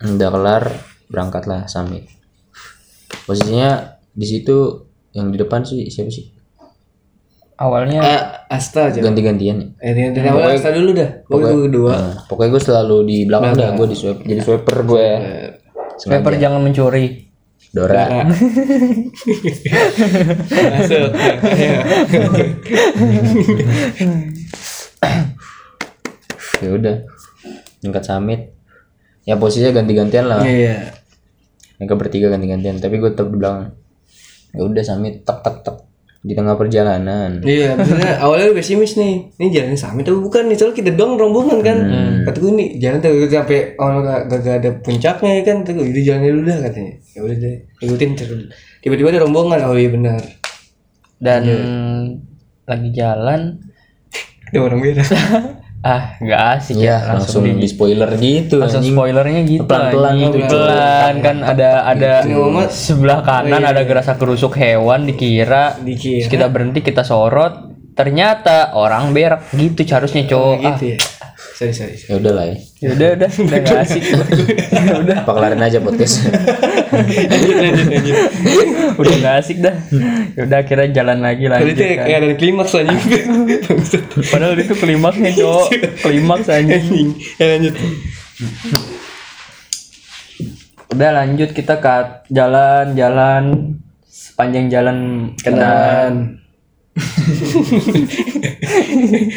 Speaker 1: Udah kelar, berangkatlah summit. Posisinya di situ yang di depan sih siapa sih?
Speaker 3: awalnya
Speaker 1: Eh,
Speaker 2: Ah, asta aja
Speaker 1: ganti-gantian ya.
Speaker 2: akhirnya dari awal asta dulu dah gue itu kedua
Speaker 1: Nah, pokoknya gue selalu di belakang dah gue di swipe jadi swiper gue
Speaker 3: sniper ya. jangan mencuri
Speaker 1: Dora
Speaker 2: masuk
Speaker 1: ya udah tingkat summit ya posisinya ganti-gantian lah
Speaker 2: iya
Speaker 1: mereka bertiga ganti-gantian tapi gue tetap di belakang ya udah summit tek tek tek di tengah perjalanan
Speaker 2: iya maksudnya awalnya gue pesimis nih ini jalannya sama tapi bukan nih soalnya kita dong rombongan kan kata gue nih jalan tuh sampai orang gak, gak- gak ada puncaknya ya kan kata gue jadi jalannya dulu dah katanya ya udah deh ikutin terus tiba-tiba ada rombongan oh iya benar
Speaker 3: dan lagi jalan
Speaker 2: ada orang beda
Speaker 3: ah nggak asik
Speaker 1: ya langsung, di spoiler gitu
Speaker 3: Langsung
Speaker 1: anjing.
Speaker 3: spoilernya gitu
Speaker 1: Pelan-pelan
Speaker 3: anjing.
Speaker 1: gitu, Cok.
Speaker 3: pelan kan ada ada
Speaker 2: Iya,
Speaker 3: sebelah kanan ada gerasa kerusuk hewan dikira
Speaker 2: Dikira.
Speaker 3: Terus kita berhenti kita sorot ternyata orang berak gitu harusnya cowok ah
Speaker 2: gitu ya sorry sorry
Speaker 1: ya udah lah ya
Speaker 3: yaudah udah udah nggak asik udah
Speaker 1: apa kelarin aja podcast
Speaker 2: lanjut lanjut lanjut
Speaker 3: udah nggak asik dah yaudah akhirnya jalan lagi
Speaker 2: Tadi tuh
Speaker 3: lanjut kan.
Speaker 2: Nah, kayak ada klimaks anjing Bangsat.
Speaker 3: padahal itu klimaksnya cowok klimaks anjing
Speaker 2: Anjing Ya lanjut
Speaker 3: udah lanjut kita ke jalan-jalan panjang jalan
Speaker 2: Kenan.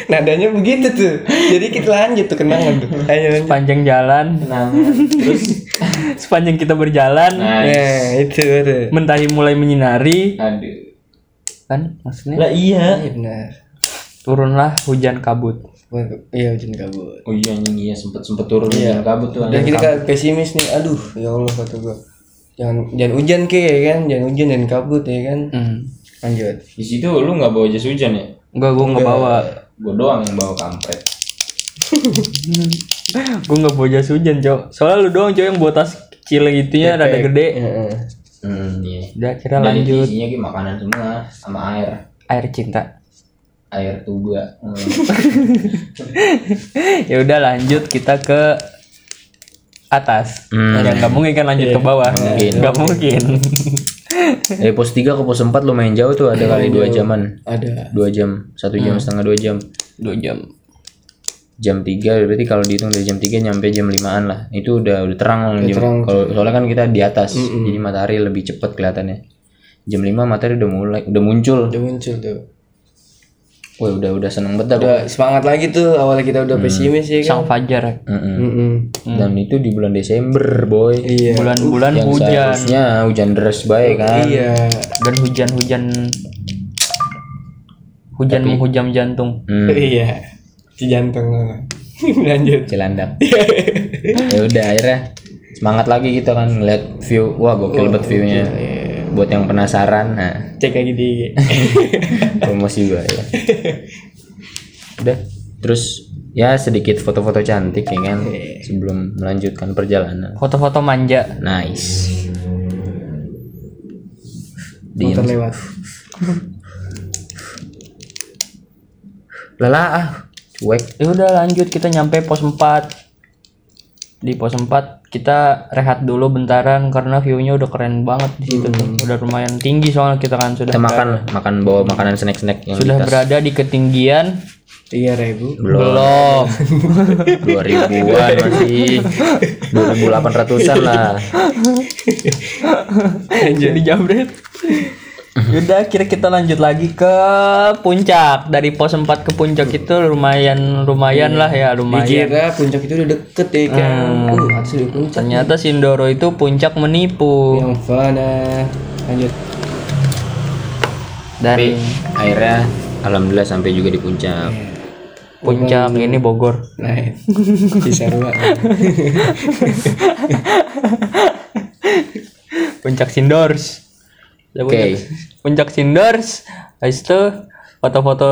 Speaker 2: Nadanya begitu tuh. Jadi kita lanjut tuh kenangan tuh. Ayo lanjut.
Speaker 3: sepanjang jalan
Speaker 1: terus Iya.
Speaker 3: sepanjang kita berjalan
Speaker 1: nice.
Speaker 2: Nah, itu tuh.
Speaker 3: mentari mulai menyinari
Speaker 1: aduh
Speaker 3: kan maksudnya
Speaker 1: lah iya
Speaker 2: Iya benar.
Speaker 3: turunlah hujan kabut
Speaker 2: Wah, Iya hujan kabut.
Speaker 1: oh iya anjing iya sempet sempet turun iya. kabut tuh
Speaker 2: Dan
Speaker 1: anjing.
Speaker 2: kita kan pesimis nih. Aduh, ya Allah kata gua. Jangan jangan hujan ke ya kan, jangan hujan dan kabut ya kan.
Speaker 3: hmm.
Speaker 2: Lanjut.
Speaker 1: di situ lu nggak bawa jas hujan ya
Speaker 3: Enggak, gue nggak bawa
Speaker 1: gue doang yang bawa kampret
Speaker 3: gue nggak bawa jas hujan cok soalnya lu doang cok yang bawa tas kecil gitu ya rada gede
Speaker 2: Heeh.
Speaker 1: hmm, iya
Speaker 3: udah kira
Speaker 1: Dan itu
Speaker 3: lanjut
Speaker 1: isinya kayak makanan semua sama air
Speaker 3: air cinta
Speaker 1: air tuba Hmm.
Speaker 3: ya udah lanjut kita ke atas yang nggak mungkin kan lanjut ke bawah nggak mungkin
Speaker 1: dari Eh, pos 3 ke pos 4 lumayan jauh tuh ada kali 2 jaman
Speaker 2: Ada
Speaker 1: 2 jam 1 jam setengah 2 jam
Speaker 2: dua jam.
Speaker 1: jam 3 berarti kalau dihitung dari jam 3 nyampe jam 5an lah itu udah udah terang lah jam- kalau soalnya kan kita di atas jadi matahari lebih cepet kelihatannya jam 5 matahari udah mulai udah muncul
Speaker 2: Udah muncul tuh.
Speaker 1: wah udah udah seneng banget dah gua.
Speaker 2: Udah semangat lagi tuh awalnya kita udah pesimis ya kan.
Speaker 3: sang fajar
Speaker 1: Mm-mm.
Speaker 2: Mm-mm.
Speaker 1: dan itu di bulan Desember boy
Speaker 2: Iya.
Speaker 3: bulan-bulan
Speaker 1: yang
Speaker 3: hujan
Speaker 1: seharusnya hujan deras baik kan
Speaker 2: Iya.
Speaker 3: dan hujan-hujan hujan menghujam jantung
Speaker 1: Hmm,
Speaker 2: Iya. Si jantung lah. Lanjut.
Speaker 1: Cilandak ya udah akhirnya semangat lagi gitu kan ngeliat view wah gokil iya. banget viewnya buat yang penasaran nah
Speaker 2: Cek lagi di IG.
Speaker 1: promosi gue ya udah terus ya sedikit foto-foto cantik ya kan sebelum melanjutkan perjalanan
Speaker 3: foto-foto manja
Speaker 1: nice Diem.
Speaker 2: Motor lewat.
Speaker 1: lelah ah cuek
Speaker 3: ya udah lanjut kita nyampe pos 4 di pos 4 kita rehat dulu bentaran karena view-nya udah keren banget di situ tuh. udah lumayan tinggi soalnya kita kan sudah
Speaker 1: kita makan lah, makan bawa makanan snack-snack yang
Speaker 3: sudah berada di ketinggian
Speaker 2: Tiga ribu.
Speaker 1: belum
Speaker 3: belum
Speaker 1: dua ribuan masih dua ribu delapan ratusan lah
Speaker 3: jadi jambret Yaudah, kira kita lanjut lagi ke puncak. Dari pos 4 ke puncak itu lumayan lumayan lah ya, lumayan.
Speaker 2: Dikira puncak itu udah deket ya kan. Uh, harus di puncak.
Speaker 3: Ternyata Sindoro itu puncak menipu.
Speaker 2: Yang fana. Lanjut.
Speaker 1: tapi
Speaker 3: Dari
Speaker 1: akhirnya alhamdulillah sampai juga di puncak
Speaker 3: puncak ini Bogor.
Speaker 2: Naik. Bisa Nah, dua.
Speaker 3: Puncak Sindors. Udah
Speaker 1: Oke.
Speaker 3: puncak- Puncak Sindors. Habis itu foto-foto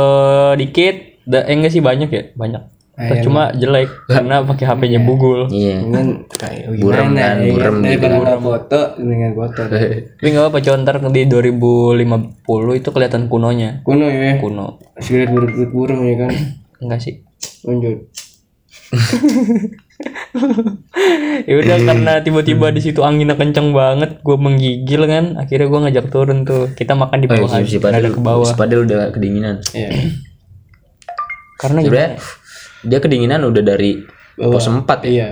Speaker 3: dikit. Da, eh, enggak sih banyak ya, banyak. Terus cuma jelek karena pakai HP-nya bugul.
Speaker 1: Eh, iya
Speaker 2: Dengan kayak oh,
Speaker 1: Burem kan,
Speaker 2: ya
Speaker 1: burem
Speaker 2: Dari
Speaker 1: gitu.
Speaker 2: barang foto dengan foto.
Speaker 3: Tapi nggak apa-apa, Con. ntar di 2050 itu kelihatan kunonya.
Speaker 2: Kuno ya.
Speaker 3: Kuno.
Speaker 2: Silet burung burung ya kan.
Speaker 3: Enggak sih.
Speaker 2: Lanjut.
Speaker 3: ya udah
Speaker 1: Eh.
Speaker 3: karena tiba-tiba di situ anginnya kenceng banget, gue menggigil kan. Akhirnya gue ngajak turun tuh. Kita makan di bawah,
Speaker 1: si, si
Speaker 3: aja, nggak ada
Speaker 1: padel
Speaker 3: ke bawah.
Speaker 1: si padel udah kedinginan
Speaker 2: Iya.
Speaker 3: Karena gitu.
Speaker 1: sebenarnya dia kedinginan udah dari pos 4 ya
Speaker 2: Iya.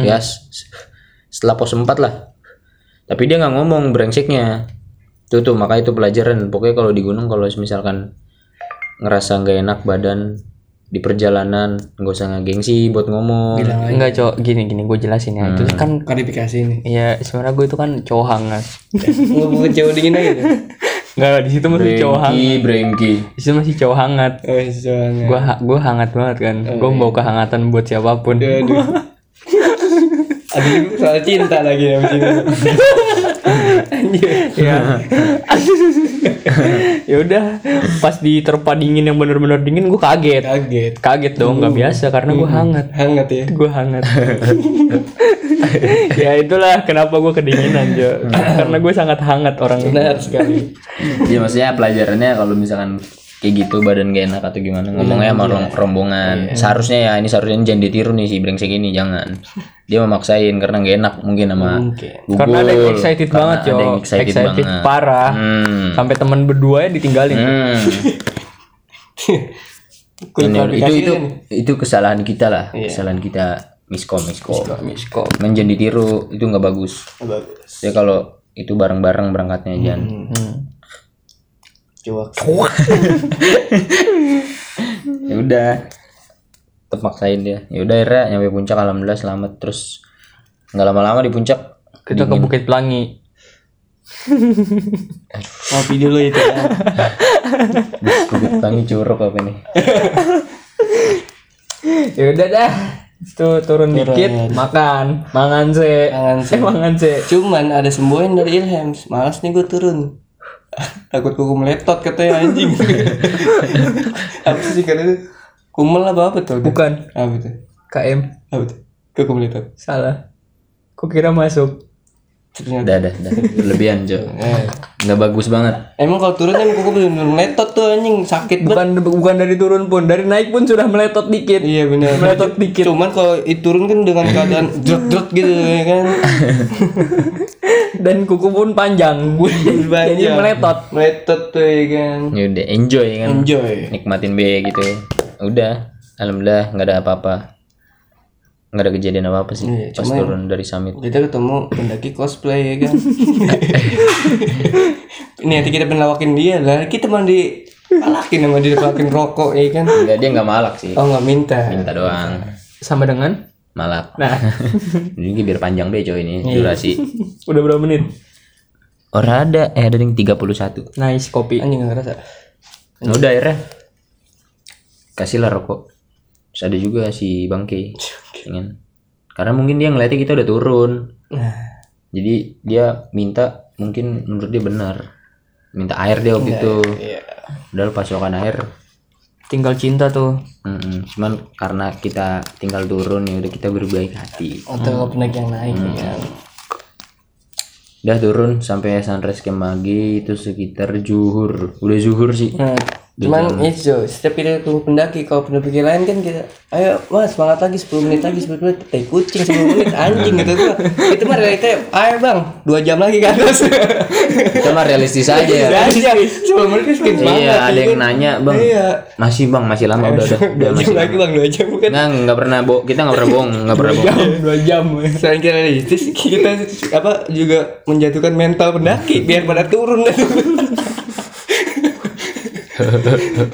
Speaker 1: ya s- s- setelah pos 4 lah tapi dia nggak ngomong brengseknya tuh tuh makanya itu pelajaran pokoknya kalau di gunung kalau misalkan ngerasa nggak enak badan di perjalanan nggak usah ngegengsi buat ngomong
Speaker 3: Enggak, Cok. Gini gini gue jelasin
Speaker 1: Hmm.
Speaker 3: ya. Itu kan
Speaker 2: Klarifikasi ini.
Speaker 3: ya sebenarnya gue itu kan cowok hangat.
Speaker 2: Nggak Oh, bukan cowok dingin aja. tuh.
Speaker 3: Enggak, di situ masih cowok hangat.
Speaker 1: brengki brengki
Speaker 3: Di situ masih cowok hangat.
Speaker 2: Oh, soalnya.
Speaker 3: Gue gue hangat banget kan. Gue membawa kehangatan buat siapapun.
Speaker 2: Oh, iya. Aduh. Aduh, soal cinta lagi ya begini.
Speaker 3: ya ya udah pas diterpa dingin yang bener-bener dingin gue kaget
Speaker 2: Kaget.
Speaker 3: kaget dong
Speaker 2: Hmm.
Speaker 3: nggak biasa karena gue hangat
Speaker 2: Hangat ya.
Speaker 3: gue hangat ya itulah kenapa gue kedinginan Jo karena gue sangat hangat orangnya
Speaker 2: Hmm. Benar sekali.
Speaker 1: ya maksudnya pelajarannya kalau misalkan kayak gitu badan gak enak atau gimana
Speaker 3: Iya,
Speaker 1: ngomongnya sama rom- rombongan seharusnya ya ini seharusnya ini jangan ditiru nih si brengsek ini jangan dia memaksain karena gak enak mungkin sama Google.
Speaker 3: karena ada yang excited
Speaker 1: Karena
Speaker 3: banget Jo
Speaker 1: ada yang excited,
Speaker 3: excited,
Speaker 1: banget
Speaker 3: parah
Speaker 1: hmm.
Speaker 3: sampai teman berdua ditinggalin
Speaker 1: Hmm. Dan
Speaker 2: Kulit
Speaker 1: itu itu itu kesalahan kita lah
Speaker 3: Iya.
Speaker 1: kesalahan kita miskom miskom
Speaker 2: Miskom.
Speaker 1: menjadi tiru itu nggak bagus
Speaker 2: Bagus.
Speaker 1: ya kalau itu bareng-bareng berangkatnya Jan.
Speaker 3: Hmm. Cuak.
Speaker 1: Ya udah. Tetep maksain dia. Ya udah akhirnya nyampe puncak alhamdulillah selamat terus nggak lama-lama di puncak
Speaker 3: Kita ke Bukit Pelangi.
Speaker 2: Kopi dulu itu. ya.
Speaker 1: Bukit Pelangi curug apa nih.
Speaker 3: Ya udah dah. Itu turun, dikit, makan, mangan se.
Speaker 2: Mangan se.
Speaker 3: Eh, mangan se.
Speaker 2: Cuman ada semboyan dari Ilhams. Malas nih gue turun. Takut kuku meletot katanya anjing. apa sih karena itu? Kumel apa apa tuh?
Speaker 3: Bukan
Speaker 2: Apa tuh?
Speaker 3: KM.
Speaker 2: Apa tuh? Kuku meletot.
Speaker 3: Salah. Kok kira masuk?
Speaker 2: Ternyata.
Speaker 1: Udah, udah, udah. Berlebihan, Jo.
Speaker 2: Eh.
Speaker 1: Nggak bagus banget.
Speaker 2: Emang kalau turun kan kuku bener-bener meletot tuh anjing sakit banget.
Speaker 3: Bukan bukan dari turun pun, dari naik pun sudah meletot dikit.
Speaker 2: Iya benar.
Speaker 3: Meletot dikit.
Speaker 2: Cuman kalau itu turun kan dengan keadaan drut-drut gitu ya kan.
Speaker 3: Dan kuku pun panjang. Jadi
Speaker 2: Banyak.
Speaker 3: meletot.
Speaker 2: Iya, Meletot tuh ya kan.
Speaker 1: Ya udah enjoy kan.
Speaker 2: Enjoy.
Speaker 1: Nikmatin be gitu. Udah. Alhamdulillah nggak ada apa-apa. Nggak ada kejadian apa-apa sih
Speaker 2: Iya,
Speaker 1: pas turun dari summit.
Speaker 2: kita ketemu pendaki cosplay ya kan ini nanti kita penlawakin dia lah kita mau di palakin sama dia palakin rokok ya kan
Speaker 1: Enggak dia nggak malak sih.
Speaker 2: oh nggak minta
Speaker 1: Minta doang.
Speaker 3: Sama dengan
Speaker 1: Malak.
Speaker 3: Nah,
Speaker 1: Ini biar panjang be, Jo ini durasi.
Speaker 3: udah berapa menit?
Speaker 1: Orang ada eh ada yang 31.
Speaker 3: Nice kopi.
Speaker 2: anjing nggak ngerasa
Speaker 1: Nah, udah akhirnya kasihlah rokok. Terus ada juga si Bangke. Ingin. Karena mungkin dia ngeliatnya kita udah turun.
Speaker 2: nah
Speaker 1: Jadi dia minta mungkin menurut dia benar. Minta air dia waktu itu.
Speaker 2: iya
Speaker 1: Padahal pasokan air.
Speaker 3: Tinggal cinta tuh.
Speaker 1: Mm-mm. Cuman karena kita tinggal turun ya udah kita berbaik hati.
Speaker 2: atau pendaki yang naik ya kan
Speaker 1: Udah turun sampai sunrise camp pagi itu sekitar zuhur. Udah zuhur sih.
Speaker 2: nah cuman itu setiap kita ketemu pendaki kalau pendaki lain kan kita ayo mas semangat lagi 10 menit lagi 10 menit tai kucing 10 menit anjing gitu tuh itu mah realita ayo bang 2 jam lagi kan." ke atas
Speaker 1: Kita mah realistis aja ya.
Speaker 2: aja 10 menit kan sedikit banget
Speaker 1: Iya, ada
Speaker 2: ya
Speaker 1: yang
Speaker 2: kan?
Speaker 1: nanya, Bang.
Speaker 2: Iya.
Speaker 1: Masih, Bang, masih lama udah udah. udah
Speaker 2: dua jam lagi bang dua jam bukan
Speaker 1: Nah, nggak pernah bo kita nggak pernah bohong, nggak pernah bohong.
Speaker 2: Iya.
Speaker 3: Dua jam.
Speaker 2: selain kita realistis kita apa juga menjatuhkan mental pendaki biar pada turun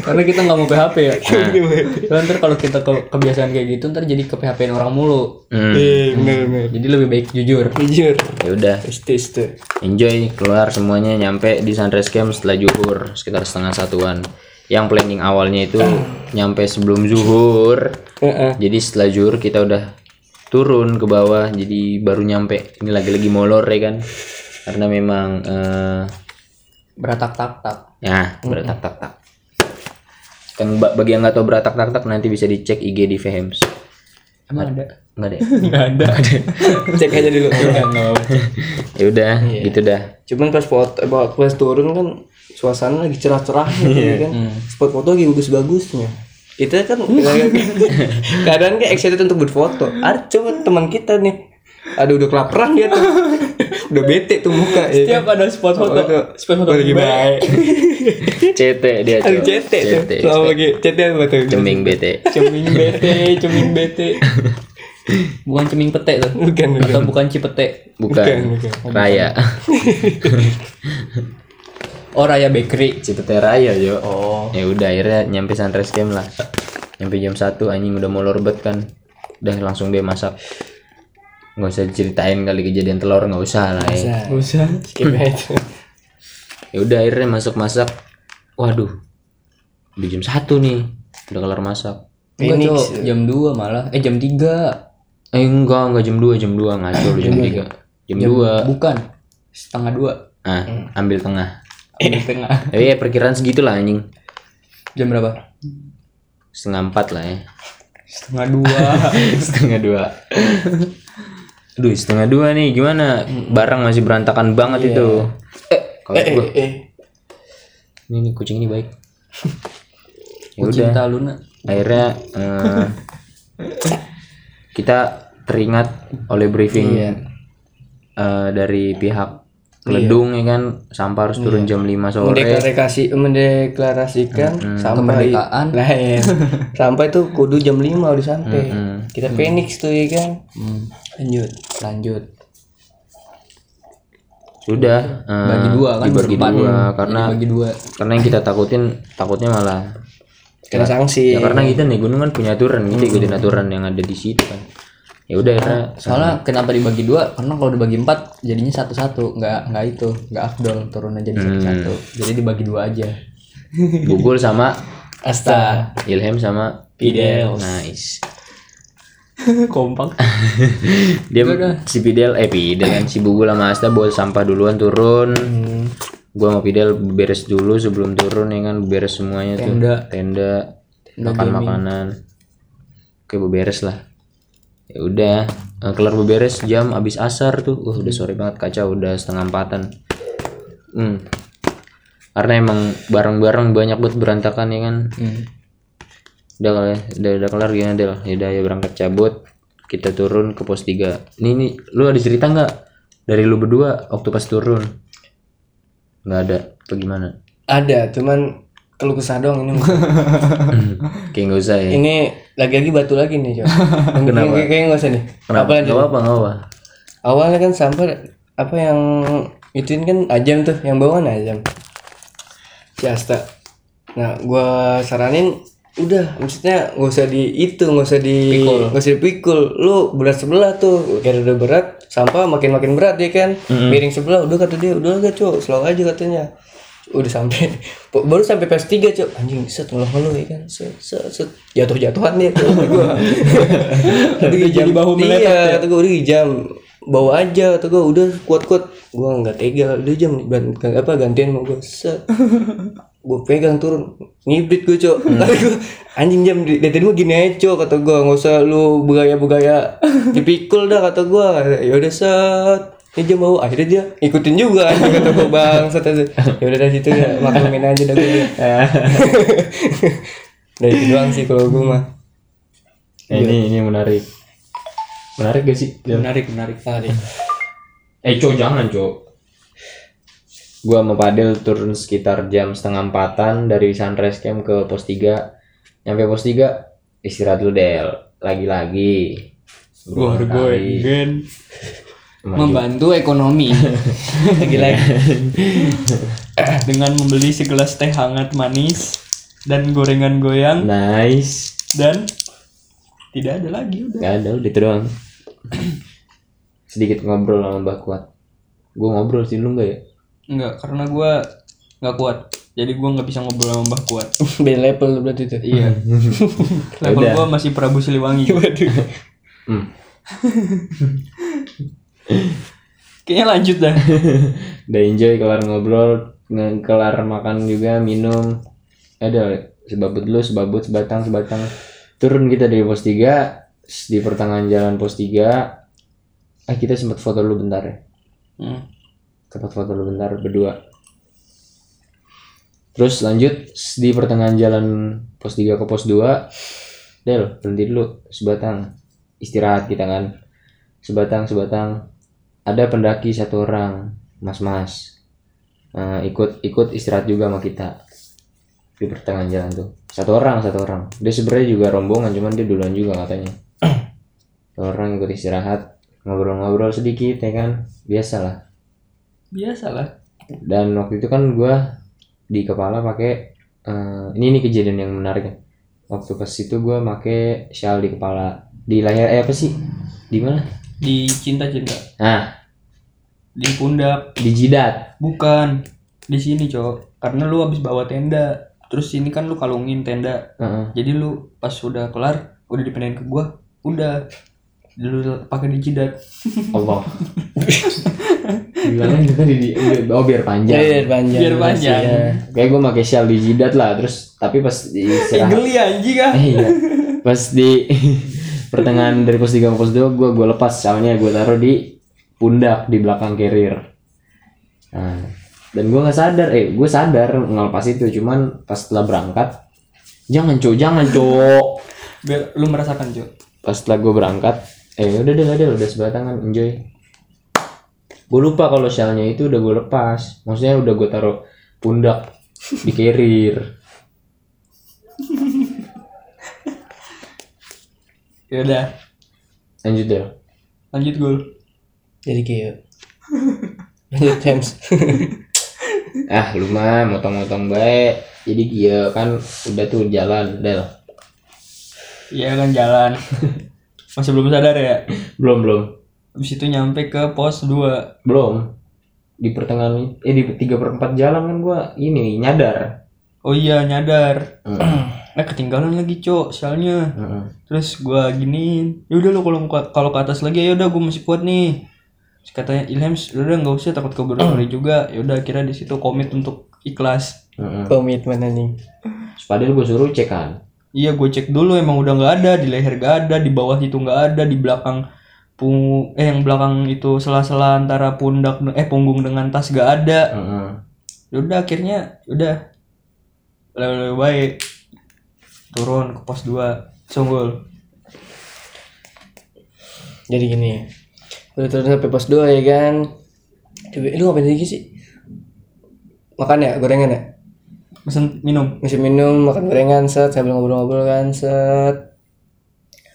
Speaker 3: Karena kita nggak mau PHP ya. Soalnya ntar kalau kita ke- kebiasaan kayak gitu ntar jadi ke PHP orang mulu.
Speaker 1: Hmm,
Speaker 2: iya bener bener
Speaker 3: Jadi lebih baik jujur.
Speaker 2: jujur
Speaker 1: ya udah,
Speaker 2: realistis tuh
Speaker 1: enjoy keluar semuanya nyampe di sunrise camp setelah zuhur sekitar setengah satuan. Yang planning awalnya itu nyampe sebelum zuhur.
Speaker 2: Heeh.
Speaker 1: Jadi setelah zuhur kita udah turun ke bawah, jadi baru nyampe. Ini lagi-lagi molor ya kan, karena memang eh,
Speaker 3: Beratak-tak-tak.
Speaker 1: Nah, beratak tak tak. Yang Kan ba- bagi yang nggak tahu beratak tak tak nanti bisa dicek IG di Fehems.
Speaker 3: Emang ada?
Speaker 1: Enggak deh.
Speaker 3: Nggak ada.
Speaker 2: cek aja dulu
Speaker 1: ya udah, gitu dah.
Speaker 2: cuman pas foto bawa pas turun kan suasana lagi cerah-cerahnya ya kan
Speaker 3: Hmm.
Speaker 2: spot foto lagi bagus-bagusnya kita kan keadaan kayak excited untuk berfoto ada coba teman kita nih aduh udah kelaparan dia tuh udah bete tuh muka ya
Speaker 3: Tiap ada spot foto. Spot foto
Speaker 2: lagi baik
Speaker 1: CT dia
Speaker 2: aduh
Speaker 1: Cok.
Speaker 2: CT tuh selama lagi CT apa tuh
Speaker 1: Ceming BT.
Speaker 3: Ceming bete, ceming bete. Bukan ceming pete tuh.
Speaker 2: bukan bukan
Speaker 3: Atau bukan cipete.
Speaker 1: Bukan.
Speaker 2: bukan.
Speaker 1: Raya.
Speaker 3: Oh Raya Bakery.
Speaker 1: CT Raya, yo.
Speaker 2: Oh.
Speaker 1: Ya udah akhirnya nyampe sunrise camp lah. Nyampe jam 1 anjing udah mau lorbet kan. Udah langsung dia masak. Nggak usah ceritain kali kejadian telur nggak usah lah ya.
Speaker 2: Nah,
Speaker 3: Gak usah.
Speaker 2: skip aja
Speaker 1: ya udah akhirnya masak masak waduh udah jam satu nih udah kelar masak
Speaker 3: Enggak tuh jam 2 malah. Eh jam 3.
Speaker 1: eh enggak enggak jam 2 jam 2 ngaco lu jam 3 jam 2
Speaker 3: Bukan. Setengah dua.
Speaker 1: ah ambil tengah
Speaker 3: Ambil tengah.
Speaker 1: tapi ya perkiraan segitulah anjing
Speaker 3: Jam berapa?
Speaker 1: setengah empat lah ya
Speaker 3: Setengah dua.
Speaker 1: setengah dua aduh setengah dua nih gimana barang masih berantakan banget itu eh kalau gua
Speaker 2: eh eh
Speaker 1: ini, ini kucing ini baik ya
Speaker 3: Ku
Speaker 1: udah
Speaker 3: cinta Luna.
Speaker 1: akhirnya eh, kita teringat oleh briefing
Speaker 3: Iya.
Speaker 1: eh, dari pihak Ledung ya kan sampah harus turun
Speaker 3: Iya.
Speaker 1: jam 5 sore
Speaker 2: mendeklarasi mendeklarasikan sampai
Speaker 3: Kemerdekaan.
Speaker 2: lah ya. sampai tuh kudu jam 5 udah sampai kita phoenix tuh ya kan lanjut
Speaker 3: Lanjut.
Speaker 1: Sudah eh,
Speaker 3: Bagi dua kan
Speaker 1: dibagi
Speaker 3: berempat.
Speaker 1: dua karena
Speaker 3: Bagi dua.
Speaker 1: karena yang kita takutin takutnya malah
Speaker 2: kena
Speaker 3: Iya.
Speaker 2: sanksi
Speaker 1: ya karena kita nih gunung kan punya aturan kita
Speaker 3: Hmm.
Speaker 1: ikutin aturan yang ada di situ kan. Ya udah akhirnya
Speaker 4: Soalnya kenapa dibagi dua? Karena kalau dibagi empat jadinya satu-satu, nggak nggak itu, nggak afdol turunnya jadi satu-satu. Jadi dibagi dua aja.
Speaker 1: Gugul sama
Speaker 4: Asta.
Speaker 1: Ilham sama
Speaker 4: Fidel.
Speaker 1: Nice.
Speaker 3: Kompak.
Speaker 1: Dia si Fidel eh Fidel kan si Gugul sama Asta bawa sampah duluan turun. Gua sama Fidel beres dulu sebelum turun ya kan beres semuanya
Speaker 4: Tenda.
Speaker 1: tuh tenda makan makanan. Oke beres lah. Ya udah eh, kelar beres jam abis asar tuh. Wah, udah sore banget kacau udah setengah empatan. Hmm. Karena emang barang-barang banyak buat berantakan ya kan. udah kali ya, udah udah kelar gimana Del ya udah ya berangkat cabut kita turun ke pos 3 nih nih lu ada cerita nggak dari lu berdua waktu pas turun nggak ada apa gimana
Speaker 2: ada cuman kalau kesah doang ini
Speaker 1: kayak nggak usah ya
Speaker 2: ini lagi-lagi batu lagi nih coba kenapa kayaknya nggak usah nih
Speaker 1: kenapa nggak apa nggak apa
Speaker 2: awalnya kan sampai apa yang ituin kan ajam tuh yang bawaan ajam si Asta nah gua saranin udah maksudnya nggak usah di itu nggak usah di nggak usah dipikul lu berat sebelah tuh kira udah berat sampah makin makin berat ya kan miring sebelah udah kata dia udah gak cok slow aja katanya udah sampai baru sampai PS 3 cok anjing set ngeluh ngeluh ya kan set set, set. jatuh jatuhan dia tuh gua udah jadi bahu meletak iya kata gua udah jam bawa aja kata gua udah kuat kuat gua nggak tega udah jam gan- gan- apa gantian mau gua set gue pegang turun ngibrit gue cok
Speaker 3: Hmm.
Speaker 2: kata gua, anjing jam di- dari tadi mah gini aja cok kata gue nggak usah lu bergaya bergaya dipikul dah kata gue ya udah set ini jam mau akhirnya dia ikutin juga anjing kata gue bang set ya udah dari situ ya maklumin aja dah gue dari itu doang sih kalau gue mah
Speaker 1: Nah, ini ini menarik menarik gak sih
Speaker 4: Iya.
Speaker 1: Iya.
Speaker 4: Menarik, menarik. Menarik.
Speaker 1: eh cok jangan cok gua sama Padel turun sekitar jam setengah empatan dari sunrise camp ke pos 3 nyampe pos 3 istirahat dulu Del lagi-lagi Gua
Speaker 4: Membantu ekonomi.
Speaker 3: Dengan membeli segelas teh hangat manis dan gorengan goyang
Speaker 1: Nice.
Speaker 3: dan tidak ada lagi udah.
Speaker 1: Gak ada udah itu doang. Sedikit ngobrol sama Mbak Kuat. Gue ngobrol sih lu enggak ya?
Speaker 3: Enggak, karena gua nggak kuat. Jadi gua nggak bisa ngobrol sama Mbah Kuat.
Speaker 2: beda level lu berarti itu
Speaker 3: Iya. Level gua masih Prabu Siliwangi.
Speaker 1: Hmm.
Speaker 3: Kayaknya lanjut dah.
Speaker 1: Udah enjoy kelar ngobrol, nge- kelar makan juga, minum. Ada sebabut lu, sebabut sebatang sebatang. Turun kita dari pos 3 di pertengahan jalan pos 3 eh kita sempat foto lu bentar ya. tempat foto lu bentar berdua terus lanjut s- di pertengahan jalan pos 3 ke pos 2 Del berhenti dulu sebatang istirahat kita kan sebatang sebatang ada pendaki satu orang mas-mas Eh, ikut ikut istirahat juga sama kita di pertengahan jalan tuh satu orang satu orang dia sebenarnya juga rombongan cuman dia duluan juga katanya Satu orang ikut istirahat ngobrol-ngobrol sedikit ya kan biasalah
Speaker 3: Biasalah.
Speaker 1: dan waktu itu kan gua di kepala pakai eh, ini ini kejadian yang menarik ya. waktu ke situ gua pakai shawl di kepala di layar eh apa sih di mana
Speaker 3: Di cinta-cinta.
Speaker 1: nah
Speaker 3: Di pundak.
Speaker 1: di jidat
Speaker 3: Bukan. Di sini, Cok. Karena lu habis bawa tenda. Terus sini kan lu kalungin tenda.
Speaker 1: Heeh.
Speaker 3: Jadi lu pas udah kelar, udah dipindahin ke gua, udah lu pakai di jidat.
Speaker 1: Allah bilangnya kita di, di- oh biar panjang
Speaker 2: biar panjang
Speaker 3: Biar panjang.
Speaker 1: ya. kayak gua pakai shawl di jidat lah terus tapi pas di istirahat
Speaker 3: Geli anjing ah.
Speaker 1: Eh, iya. Pas di pertengahan dari pos 3 ke pos 2 gua gua lepas soalnya gua taruh di pundak di belakang carrier. Nah, dan gua nggak sadar, eh gue sadar ngelepas itu cuman pas setelah berangkat jangan cok jangan cok
Speaker 3: Biar lu merasakan, Cok.
Speaker 1: pas setelah gue berangkat eh udah udah udah udah sebatangan enjoy gue lupa kalau shellnya itu udah gue lepas maksudnya udah gue taruh pundak di carrier
Speaker 3: Ya udah,
Speaker 1: lanjut deh
Speaker 3: lanjut gol.
Speaker 2: jadi kayak Lanjut James.
Speaker 1: ah lu mah motong-motong baik jadi dia kan udah tuh jalan del
Speaker 3: Iya kan jalan. Masih belum sadar ya.
Speaker 1: belum belum
Speaker 3: Habis itu nyampe ke pos 2.
Speaker 1: belum di pertengahan eh di tiga perempat jalan kan gua ini nyadar
Speaker 3: Oh iya nyadar. nah ketinggalan lagi, Cok. Soalnya
Speaker 1: Heeh.
Speaker 3: terus gua giniin. Ya udah lu kalau kalau ke atas lagi ya udah gua masih kuat nih. Terus katanya Ilham udah nggak usah takut keburukan juga. Ya udah kira di situ komit untuk ikhlas.
Speaker 1: Heeh.
Speaker 2: Komitmen anjing.
Speaker 1: Terus padahal gua suruh cek kan
Speaker 3: Iya gue cek dulu emang udah nggak ada di leher nggak ada di bawah itu nggak ada di belakang punggung eh yang belakang itu sela-sela antara pundak eh punggung dengan tas nggak ada Ya
Speaker 1: Heeh.
Speaker 3: udah akhirnya udah lebih, lebih baik turun ke pos 2 sunggul
Speaker 2: Jadi gini. Udah turun sampai pos 2 ya kan. Coba eh, lu ngapain lagi sih? Makan ya gorengan ya?
Speaker 3: mesen minum
Speaker 2: Masih minum, makan gorengan set sambil ngobrol-ngobrol kan set.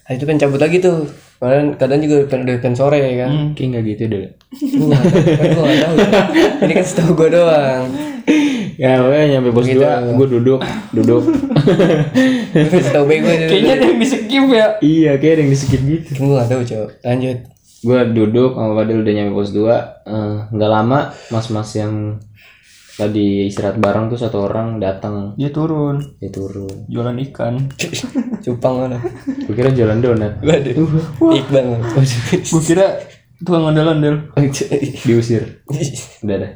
Speaker 2: Nah, itu pengen cabut lagi tuh. Kemarin kadang juga udah udah pengen sore ya kan.
Speaker 3: Hmm.
Speaker 1: kayak nggak gitu deh
Speaker 2: Lu nggak tahu, kan gua nggak tahu. Ini kan setahu gua doang.
Speaker 1: ya pokoknya nyampe pos dua gua duduk duduk
Speaker 2: Gua Setahu gue gua
Speaker 3: kayaknya ada yang di skip ya
Speaker 1: iya kayak ada yang disekip gitu
Speaker 2: Gue gak tau cok Lanjut
Speaker 1: gue duduk sama Fadil udah nyampe pos 2 Eh, nggak lama mas-mas yang tadi istirahat bareng tuh satu orang datang
Speaker 3: dia turun
Speaker 1: dia turun
Speaker 3: jualan ikan
Speaker 2: Cupang mana
Speaker 1: gue kira jualan donat
Speaker 2: Waduh Iqbal mana
Speaker 3: gue kira tukang andalan del
Speaker 1: diusir udah dah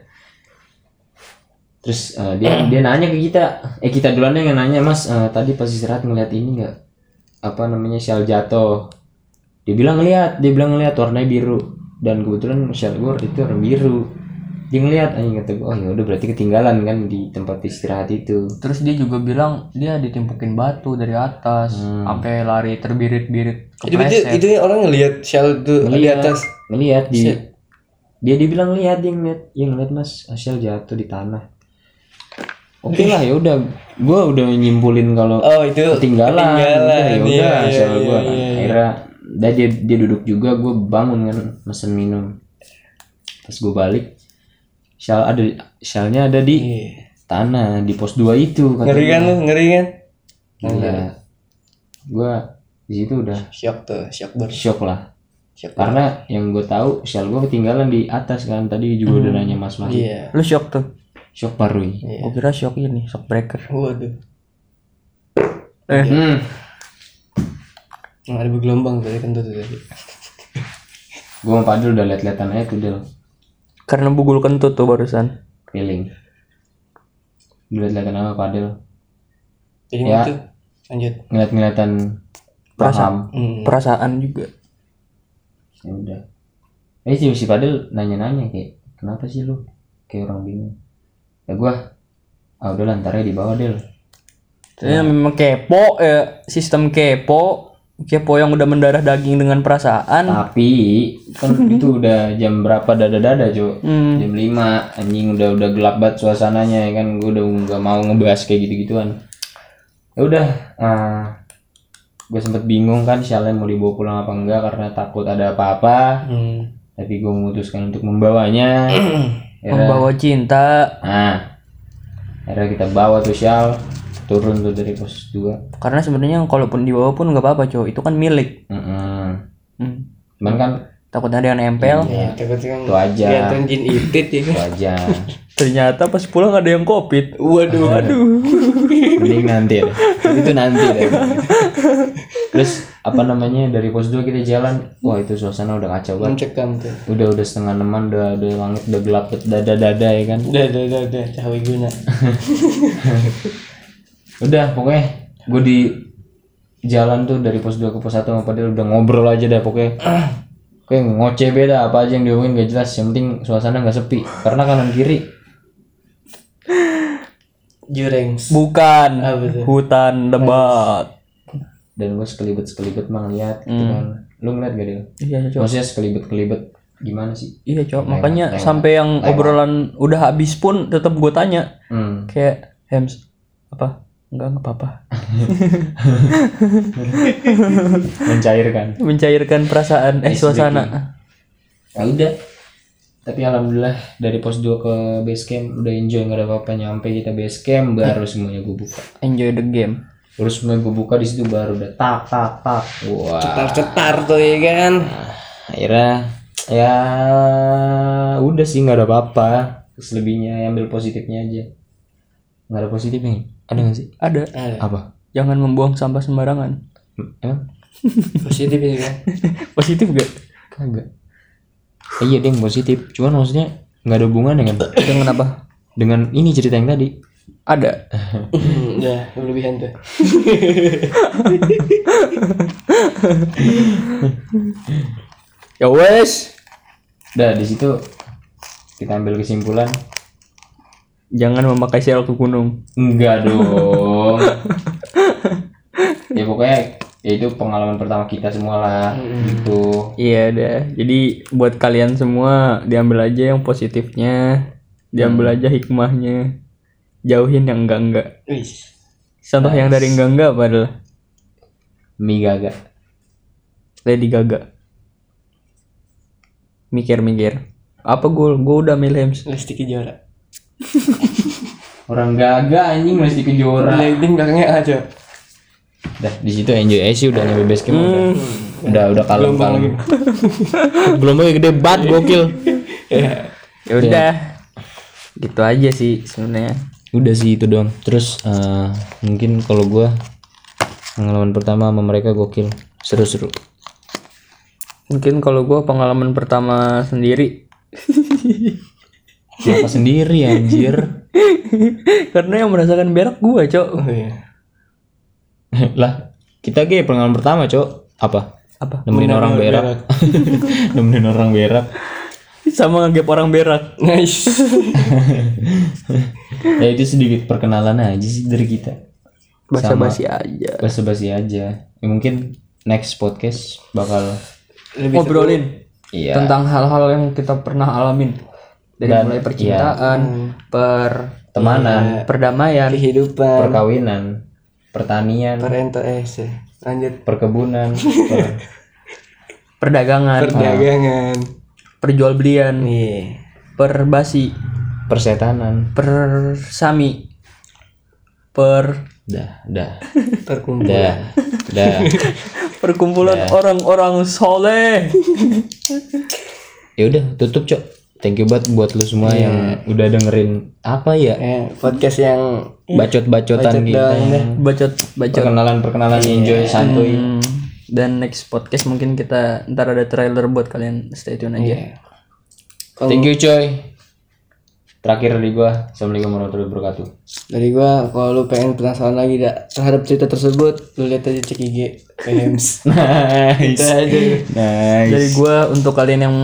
Speaker 1: terus eh, dia dia nanya ke kita eh kita duluan deh yang nanya mas eh, tadi pas istirahat ngeliat ini nggak apa namanya shell jatuh dia bilang ngeliat dia bilang ngeliat warnanya biru dan kebetulan shell gue waktu itu warna biru dia ngeliat anjing kata gue oh ya udah berarti ketinggalan kan di tempat istirahat itu
Speaker 3: terus dia juga bilang dia ditimpukin batu dari atas sampai lari terbirit-birit
Speaker 2: Itu itu, itu orang ngeliat Shell tuh di atas
Speaker 1: ngelihat di dia dia bilang lihat dia ngeliat dia ngeliat mas Asyal jatuh di tanah oke lah ya udah gue udah nyimpulin kalau
Speaker 2: Oh itu
Speaker 1: ketinggalan,
Speaker 2: ketinggalan,
Speaker 1: Udah, ya
Speaker 2: iya,
Speaker 1: udah
Speaker 2: iya,
Speaker 1: Asyal gue
Speaker 2: iya, iya, iya.
Speaker 1: akhirnya dah dia dia duduk juga gue bangun kan mesen minum pas gue balik Syal ada Syalnya ada di
Speaker 2: Iya.
Speaker 1: tanah di pos 2 itu kata
Speaker 2: Ngeri kan lu ngeri kan
Speaker 1: gue di situ udah
Speaker 2: Shock tuh Shock ber
Speaker 1: shock lah
Speaker 2: Shock ber-
Speaker 1: karena yang gue tahu shell gue ketinggalan di atas kan tadi juga udah nanya mas mas
Speaker 2: Iya
Speaker 3: lu shock tuh
Speaker 1: shock ya. parui
Speaker 3: gue kira shock ini shock breaker
Speaker 2: Waduh
Speaker 1: hmm.
Speaker 2: Nah, ada bergelombang tadi kentut tuh tadi
Speaker 1: gue sama Padel udah liat-liatan aja tuh del
Speaker 3: karena bugul kentut tuh barusan
Speaker 1: feeling udah liat-liatan sama Padel
Speaker 2: Jadi
Speaker 1: Ya.
Speaker 2: itu Lanjut
Speaker 1: ngeliat-ngeliatan paham
Speaker 2: Hmm.
Speaker 3: perasaan juga
Speaker 1: ya udah eh si si Padel nanya-nanya kayak kenapa sih lu kayak orang bingung ya gue ah udah lantarnya di bawah del
Speaker 3: Saya memang kepo, eh, sistem kepo, kepo yang udah mendarah daging dengan perasaan.
Speaker 1: tapi kan itu udah jam berapa dada dada cuy jam 5 anjing udah udah gelap banget suasananya ya kan gue udah nggak mau ngebahas kayak gitu gituan ya udah gue sempet bingung kan sialnya mau dibawa pulang apa enggak karena takut ada apa-apa
Speaker 2: Hmm.
Speaker 1: tapi gue memutuskan untuk membawanya Ya Akhirnya-
Speaker 3: Membawa cinta
Speaker 1: nah akhirnya kita bawa tuh sial turun tuh dari pos 2
Speaker 3: karena sebenarnya kalaupun dibawa pun nggak apa-apa, cowok. Itu kan milik. Hmm.
Speaker 1: cuman kan
Speaker 3: Takut ada yang nempel.
Speaker 2: Ya, takut kan
Speaker 1: itu aja
Speaker 2: Kelihatan jin itit ya kan
Speaker 1: itu aja
Speaker 3: Ternyata pas pulang ada yang covid. Waduh, waduh.
Speaker 1: mending nanti deh. itu nanti deh terus apa namanya dari pos 2 kita jalan wah itu suasana udah kacau banget
Speaker 2: Mencekam tuh
Speaker 1: udah udah setengah enaman udah udah langit udah gelap dada dada ya kan
Speaker 2: Udah udah udah udah Cahawi guna
Speaker 1: udah pokoknya gue di jalan tuh dari pos 2 ke pos 1 sama Padel udah ngobrol aja dah pokoknya Oke ngoceh beda apa aja yang diomongin gak jelas yang penting suasana gak sepi karena kanan kiri
Speaker 2: Jurengs
Speaker 3: Bukan
Speaker 2: Apa tuh?
Speaker 3: hutan lebat.
Speaker 1: dan gue sekelibet sekelibet mah ngeliat gitu kan lu ngeliat gak Del?
Speaker 3: Iya, cowok.
Speaker 1: maksudnya sekelibet kelibet gimana sih
Speaker 3: Iya, cowok. Makanya sampai yang obrolan udah habis pun tetap gue tanya
Speaker 1: hmm.
Speaker 3: kayak Hems apa? Enggak, enggak apa-apa.
Speaker 1: mencairkan
Speaker 3: Mencairkan perasaan eh suasana.
Speaker 1: ya udah tapi alhamdulillah dari pos 2 ke base camp udah enjoy nggak ada apa-apa nyampe kita base camp baru semuanya gue buka
Speaker 3: Enjoy the game.
Speaker 1: baru semuanya gue buka di situ baru udah tak tak tak wah
Speaker 2: cetar tuh ya kan
Speaker 1: akhirnya ya udah sih nggak ada apa-apa selebihnya ambil positifnya aja nggak ada positif nih ada nggak sih
Speaker 3: Ada.
Speaker 1: apa
Speaker 3: Jangan membuang sampah sembarangan.
Speaker 1: emang
Speaker 2: positif ya kan
Speaker 3: Positif gak?
Speaker 1: kagak Eh, iya deh positif cuman maksudnya nggak ada hubungan dengan
Speaker 3: Itu kenapa?
Speaker 1: dengan ini cerita yang tadi
Speaker 3: Ada.
Speaker 2: ya kelebihan tuh
Speaker 3: Ya wes.
Speaker 1: Udah di situ kita ambil kesimpulan
Speaker 3: Jangan memakai sel ke gunung.
Speaker 1: enggak dong. ya pokoknya ya itu pengalaman pertama kita semua lah gitu.
Speaker 3: Iya dah. Jadi buat kalian semua diambil aja yang positifnya, diambil aja hikmahnya. Jauhin yang enggak-enggak.
Speaker 2: Wis.
Speaker 3: Contoh yang dari enggak-enggak apa adalah
Speaker 1: Mie gaga.
Speaker 3: Lady Gaga. Mikir-mikir. Apa gue? Gue udah milih Hems.
Speaker 2: Lesti Kejora
Speaker 1: Orang gaga anjing masih kejora.
Speaker 2: lighting belakangnya ada
Speaker 1: Dah di situ enjoy aja sih udah nyampe base camp udah. Udah udah kalem kalem. Gelombangnya gede banget gokil.
Speaker 3: Ya udah. Gitu aja sih sebenarnya.
Speaker 1: Udah sih itu doang. Terus eh, mungkin kalau gua pengalaman pertama sama mereka gokil seru-seru.
Speaker 3: Mungkin kalau gue pengalaman pertama sendiri
Speaker 1: Kenapa sendiri anjir?
Speaker 3: karena yang merasakan berak gue cok
Speaker 2: Oh, iya.
Speaker 1: lah kita ge pengalaman pertama cok apa
Speaker 3: Apa?
Speaker 1: nemenin orang berak, nemenin orang berak
Speaker 3: sama ngegep orang berak
Speaker 2: nice
Speaker 1: ya itu sedikit perkenalan aja sih dari kita
Speaker 3: basa basi Ya aja
Speaker 1: basa basi aja ya, mungkin next podcast bakal
Speaker 3: ngobrolin
Speaker 1: iya
Speaker 3: tentang hal-hal yang kita pernah alamin dari
Speaker 1: Dan,
Speaker 3: mulai Iya. percintaan per
Speaker 1: temanan
Speaker 3: perdamaian
Speaker 2: kehidupan
Speaker 1: perkawinan pertanian
Speaker 2: per NTS ya. lanjut
Speaker 1: perkebunan per-
Speaker 3: perdagangan
Speaker 2: perdagangan
Speaker 3: perjualbelian
Speaker 2: nih
Speaker 3: perbasi
Speaker 1: persetanan
Speaker 3: persami per
Speaker 1: dah dah
Speaker 2: terkumpul
Speaker 1: dah dah
Speaker 3: perkumpulan orang-orang soleh
Speaker 1: ya udah tutup cok thank you banget buat lu semua yang
Speaker 3: Iya.
Speaker 1: udah dengerin apa ya
Speaker 2: eh, podcast yang
Speaker 1: bacot-bacotan gitu
Speaker 3: bacot bacot Iya.
Speaker 1: perkenalan-perkenalan enjoy santuy
Speaker 3: Hmm, dan next podcast mungkin kita ntar ada trailer buat kalian stay tune aja
Speaker 1: Iya. Thank
Speaker 3: Oh.
Speaker 1: you coy. Terakhir dari gua. Assalamualaikum warahmatullahi wabarakatuh.
Speaker 2: dari gua kalau lu pengen penasaran lagi dak terhadap cerita tersebut lu lihat aja cek IG Hems
Speaker 1: Nice. Nice.
Speaker 3: Dari gua untuk kalian yang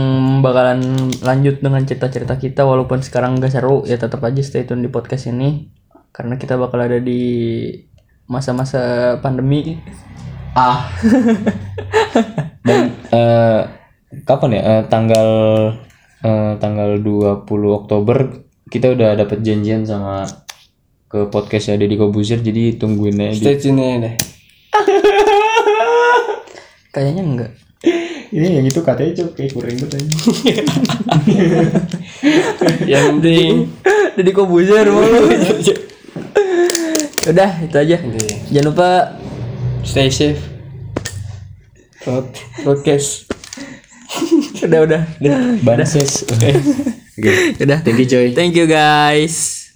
Speaker 3: bakalan lanjut dengan cerita-cerita kita walaupun sekarang gak seru ya tetap aja stay tune di podcast ini karena kita bakal ada di masa-masa pandemi
Speaker 1: Ah. Dan eh, kapan ya? Eh, tanggal eh, tanggal 20 Oktober kita udah dapat janjian sama ke podcastnya Deddy Kobuzier jadi tungguin aja di-
Speaker 2: stay tune aja deh
Speaker 3: kayaknya enggak
Speaker 1: ini yang itu katanya cok kayak kurang banget aja.
Speaker 2: yang penting
Speaker 3: jadi kok buzzer mulu udah itu aja jangan lupa
Speaker 2: stay safe Pod podcast
Speaker 3: udah udah
Speaker 1: Banses. Oke.
Speaker 3: udah
Speaker 1: Thank you coy.
Speaker 3: thank you guys